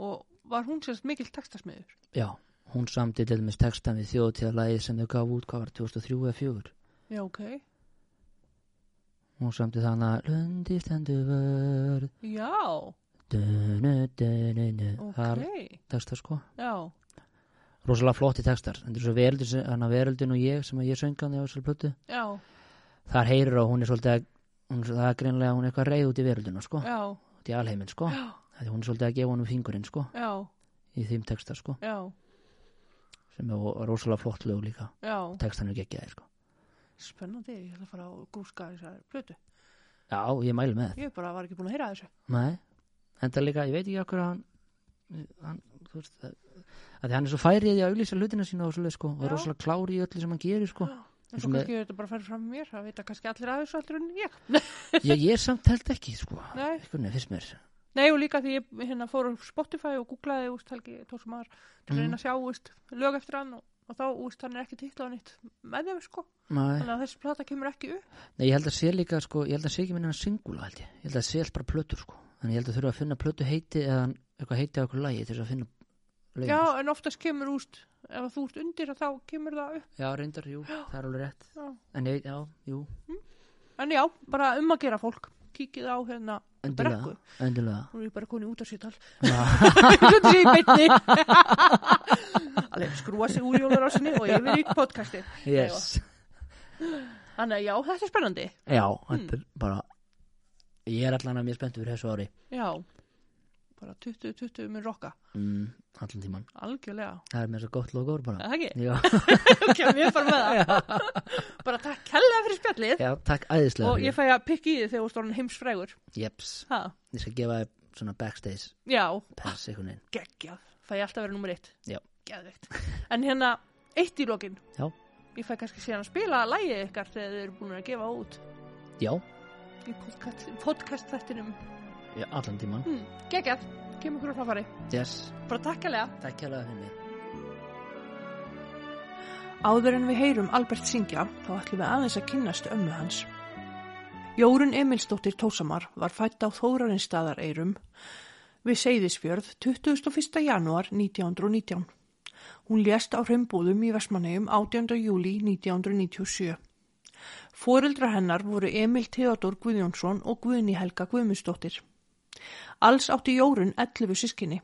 A: og var hún sérst mikill textasmiður
B: já, hún samdi til dæmis textan við þjóðtíðalagi sem þau gaf út hvað var 2003 eða 4
A: já, ok,
B: hún samdi þannig að Lundi stendur vörð
A: já,
B: dunu, dunu, dunu.
A: ok
B: það er texta sko
A: já,
B: rosalega flotti textar þetta er svo veröldin, sem- hann að veröldin og ég sem að ég söngan á þessari plötu
A: já,
B: þar heyrir að hún er svolítið að hún, það er greinlega að hún er eitthvað reyð út í veröldina sko,
A: já,
B: út í alheiminn sko Af því hún er svolítið að gefa honum fingurinn sko
A: já
B: í þeim texta sko
A: já,
B: sem er vo- rosalega flott lög líka
A: já,
B: textan er geggjaði sko
A: spennandi ég ætla að fara og gúska þessar plötu
B: já, ég mælu með
A: ég bara var ekki búin að heyra þessu
B: Nei, enda líka, ég veit ekki okkur að hann, hann þú veist, það, að því hann er svo færið í að auglýsa hlutina sína og svolítið sko, og
A: Já.
B: er rosalega klári í öllu sem hann gerir sko.
A: en
B: Eins og
A: svo
B: með-
A: kannski þetta bara færi fram með mér það vita kannski allir af þessu allir en ég
B: Ég, ég samt held ekki sko,
A: nei
B: einhvern veginn fyrst mér.
A: Nei og líka því ég hérna fór á Spotify og googlaði úst Helgi Tórsumar til að reyna að sjá úst lög eftir hann og, og þá úst hann er ekki titlað nýtt með þeim sko
B: Nei.
A: þannig að þessi plata kemur ekki upp
B: Nei, ég held að sé líka sko, ég held að sé ekki minna hann singula held ég, ég held að sé allt bara plötur sko, þannig ég held að þurfa að finna plötu heiti eða eitthvað heiti á okkur lagi til þess að finna lögin.
A: Já, en oftast kemur úst, ef þú ert undir þá kemur það upp.
B: Já, reyndar, jú, það er alveg rétt.
A: Já.
B: En ég, já, jú,
A: En já, bara um að gera fólk. Kíkið á hérna
B: endilega,
A: brekku.
B: endilega.
A: Nú er ég bara konið út af sýtal. Svona sér í beinni. Alveg skrúa sig úr jólarásinni og yfir í podcasti.
B: Yes.
A: Þannig að já, þetta er spennandi.
B: Já,
A: Hmm.
B: þetta er bara, ég er allan að mjög spennt fyrir þessu ári,
A: Já, bara 20-20 mun rokka.
B: mm, allan tíman.
A: Algjörlega.
B: Það er með svo gott logo bara.
A: Er Það ekki?
B: Já,
A: Kemur ég bara með það. bara takk kærlega fyrir spjallið.
B: já takk æðislega.
A: Og ég fæ að pikki í þið þegar þú stóran heimsfrægur.
B: Jeps,
A: Ha?
B: ég skal gefa þér svona backstage
A: Já,
B: pass einhvern veginn.
A: geggjað. Fæ ég alltaf að vera nummer eitt.
B: Já.
A: Geðveikt. En hérna, eitt í lokin.
B: Já.
A: Ég fæ kannski síðan að spila lægið ykkar þegar þið eru búin að gefa út
B: Já,
A: í podcast, podcast þættinum.
B: já allan tíman.
A: Hmm, geggjað. Kemur ykkur á fráfari.
B: Yes,
A: Bara takk kærlega.
B: takk hérlega fyrir mig.
A: Áður en við heyrum Albert syngja, þá ætlum við aðeins að kynnast ömmu hans. Jórun Emilsdóttir Tósamar var fætt á Þórarinstaðareirum við Seyðisfjörð 21. januar 1919. Hún lést á hraumbúðum í Vestmanneum 18. júli 1997. Fóreldra hennar voru Emil Theodor Guðjónsson og Guðni Helga Guðmundsdóttir. Alls átti Jórun 11 sískinni.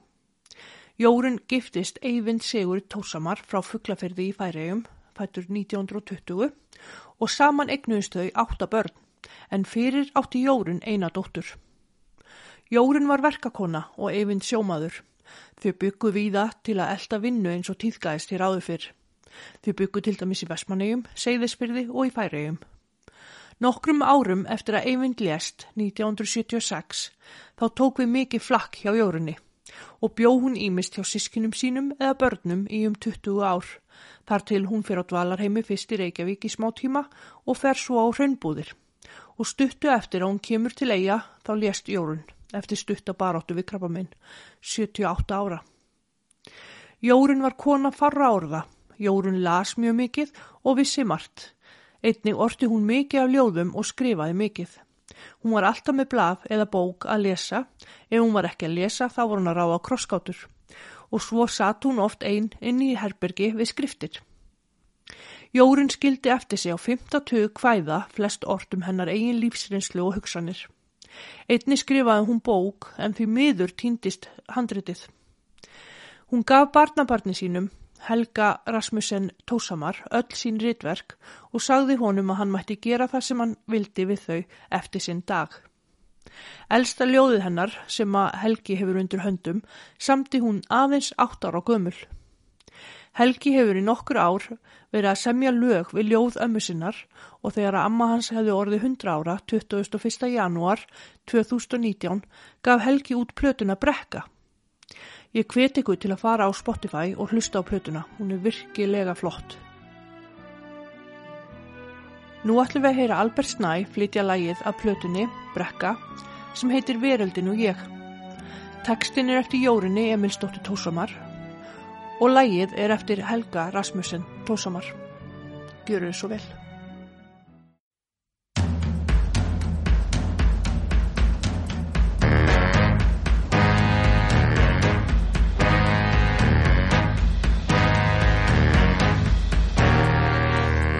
A: Jórun giftist Eyvind Sigur Tósamar frá Fuglaferði í Færegjum, fættur 1920 og saman eignuðist þau átta börn, en fyrir átti Jórun eina dóttur. Jórun var verkakona og Eyvind sjómaður. Þau byggu víða til að elda vinnu eins og tíðgæðist hér áður fyrr. Þau byggu til dæmis í Vestmannegjum, Seyðisfyrði og í Færegjum. Nokkrum árum eftir að Eyvind lést 1976 þá tók við mikið flakk hjá Jórunni og bjó hún ímist hjá sískinum sínum eða börnum í um 20 ár. Þar til hún fyrir á dvalarheimi fyrst í Reykjavík í smá tíma og fer svo á hraunbúðir. Og stuttu eftir að hún kemur til eiga þá lést Jórun eftir stutta baráttu við krabba 78 ára. Jórun var kona farra orða. Jórun las mjög mikið og vissi margt. Einnig orti hún mikið af ljóðum og skrifaði mikið. Hún var alltaf með blaf eða bók að lesa. Ef hún var ekki að lesa þá var hún að ráða krosskátur. Og svo satt hún oft einn inn í herbergi við skriftir. Jórun skildi eftir sig á 52 kvæða flest ortum hennar eigin lífsreynslu og hugsanir. Einni skrifaði hún bók en því miður týndist handritið. Hún gaf barnabarni sínum, Helga Rasmussen Tósamar, öll sín ritverk og sagði honum að hann mætti gera það sem hann vildi við þau eftir sinn dag. Elsta ljóðið hennar, sem að Helgi hefur undir höndum, samti hún aðeins átt ára gömul. Helgi hefur í nokkur ár verið að semja lög við ljóð ömmu sinnar og þegar að amma hans hefði orðið 100 ára 21. janúar 2019 gaf Helgi út plötuna Brekka. Ég hveti ykkur til að fara á Spotify og hlusta á plötuna, hún er virkilega flott. Nú ætlum við að heyra Albert Snæ flytja lægið af plötunni Brekka sem heitir Veröldin og ég. Textin er eftir Jórunni Emilsdóttir Tósamar og lægið er eftir Helga Rasmussen Tósamar. Gjöru þið svo vel.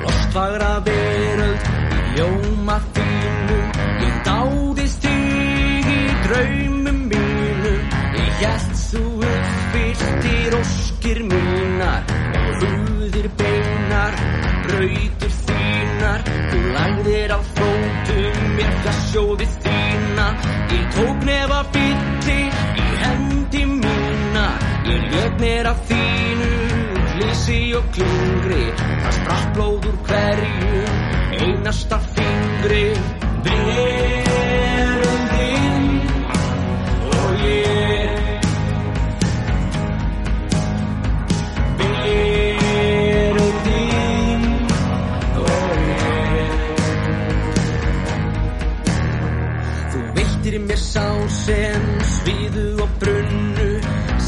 C: Lostfagra veröld í ljóma þínu Ég dáðist þig í draumum mínu Ég held þú uppfylltir óskir mínar Rúðir beinar, brautir þínar Þú lagðir á fótum mér fjassjóði þína Ég tók nefa bylli í hendi mína Ég ljög mér af þínu Lísi og klingri Það spratt blóð úr hverju Einasta fingri Veröldin Og ég Veröldin Og ég Þú veittir mér sá sem sviðu og brunnu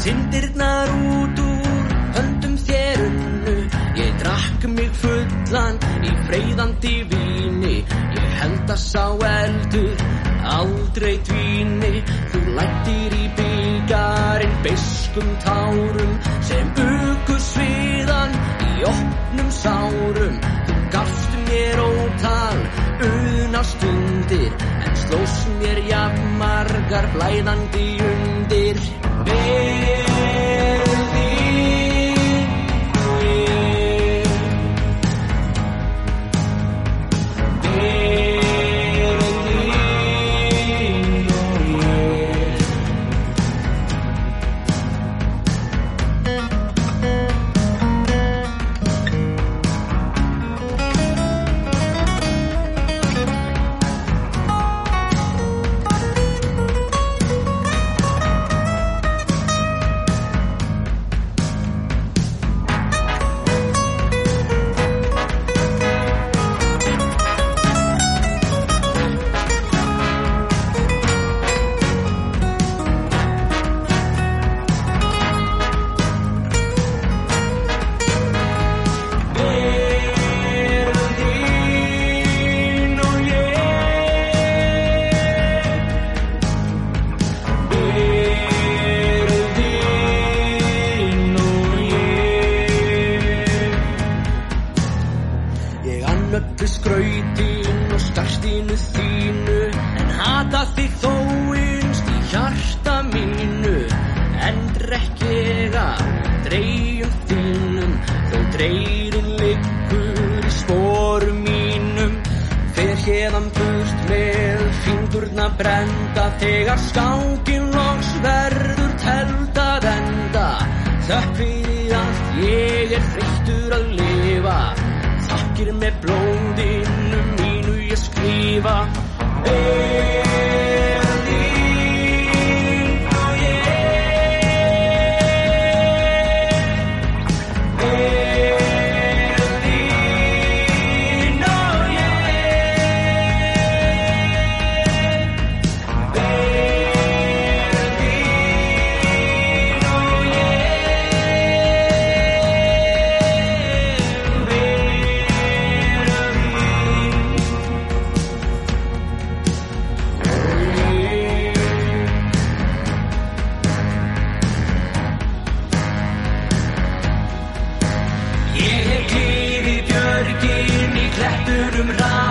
C: Sindirnar út úr höndum þér unnu Ég drakk mig fullan í freyðandi víni Ég held að sá eldur aldrei dvíni Þú lættir í byggarinn beiskum tárum sem bugu sviðan í opnum sárum Þú gafst mér ótal uðna stundir en slóst mér jafnmargar blæðandi undir Verði mér Thank Ég annöldu skrautin og startinu þínu En hata þig þó innst í hjarta mínu En drekk ég að dreyjum þínum Þó dreyrin liggur í sporum mínum Fer hérðan burt með fingurna brenda Þegar skákin loks verður teldað enda Þökk fyrir allt ég er þreyttur að lifa Þakkir með blóðinu mínu ég skrifa Er þín og ég Er þín og ég Er þín og ég Ég hef klifið björgin í klettunum ræð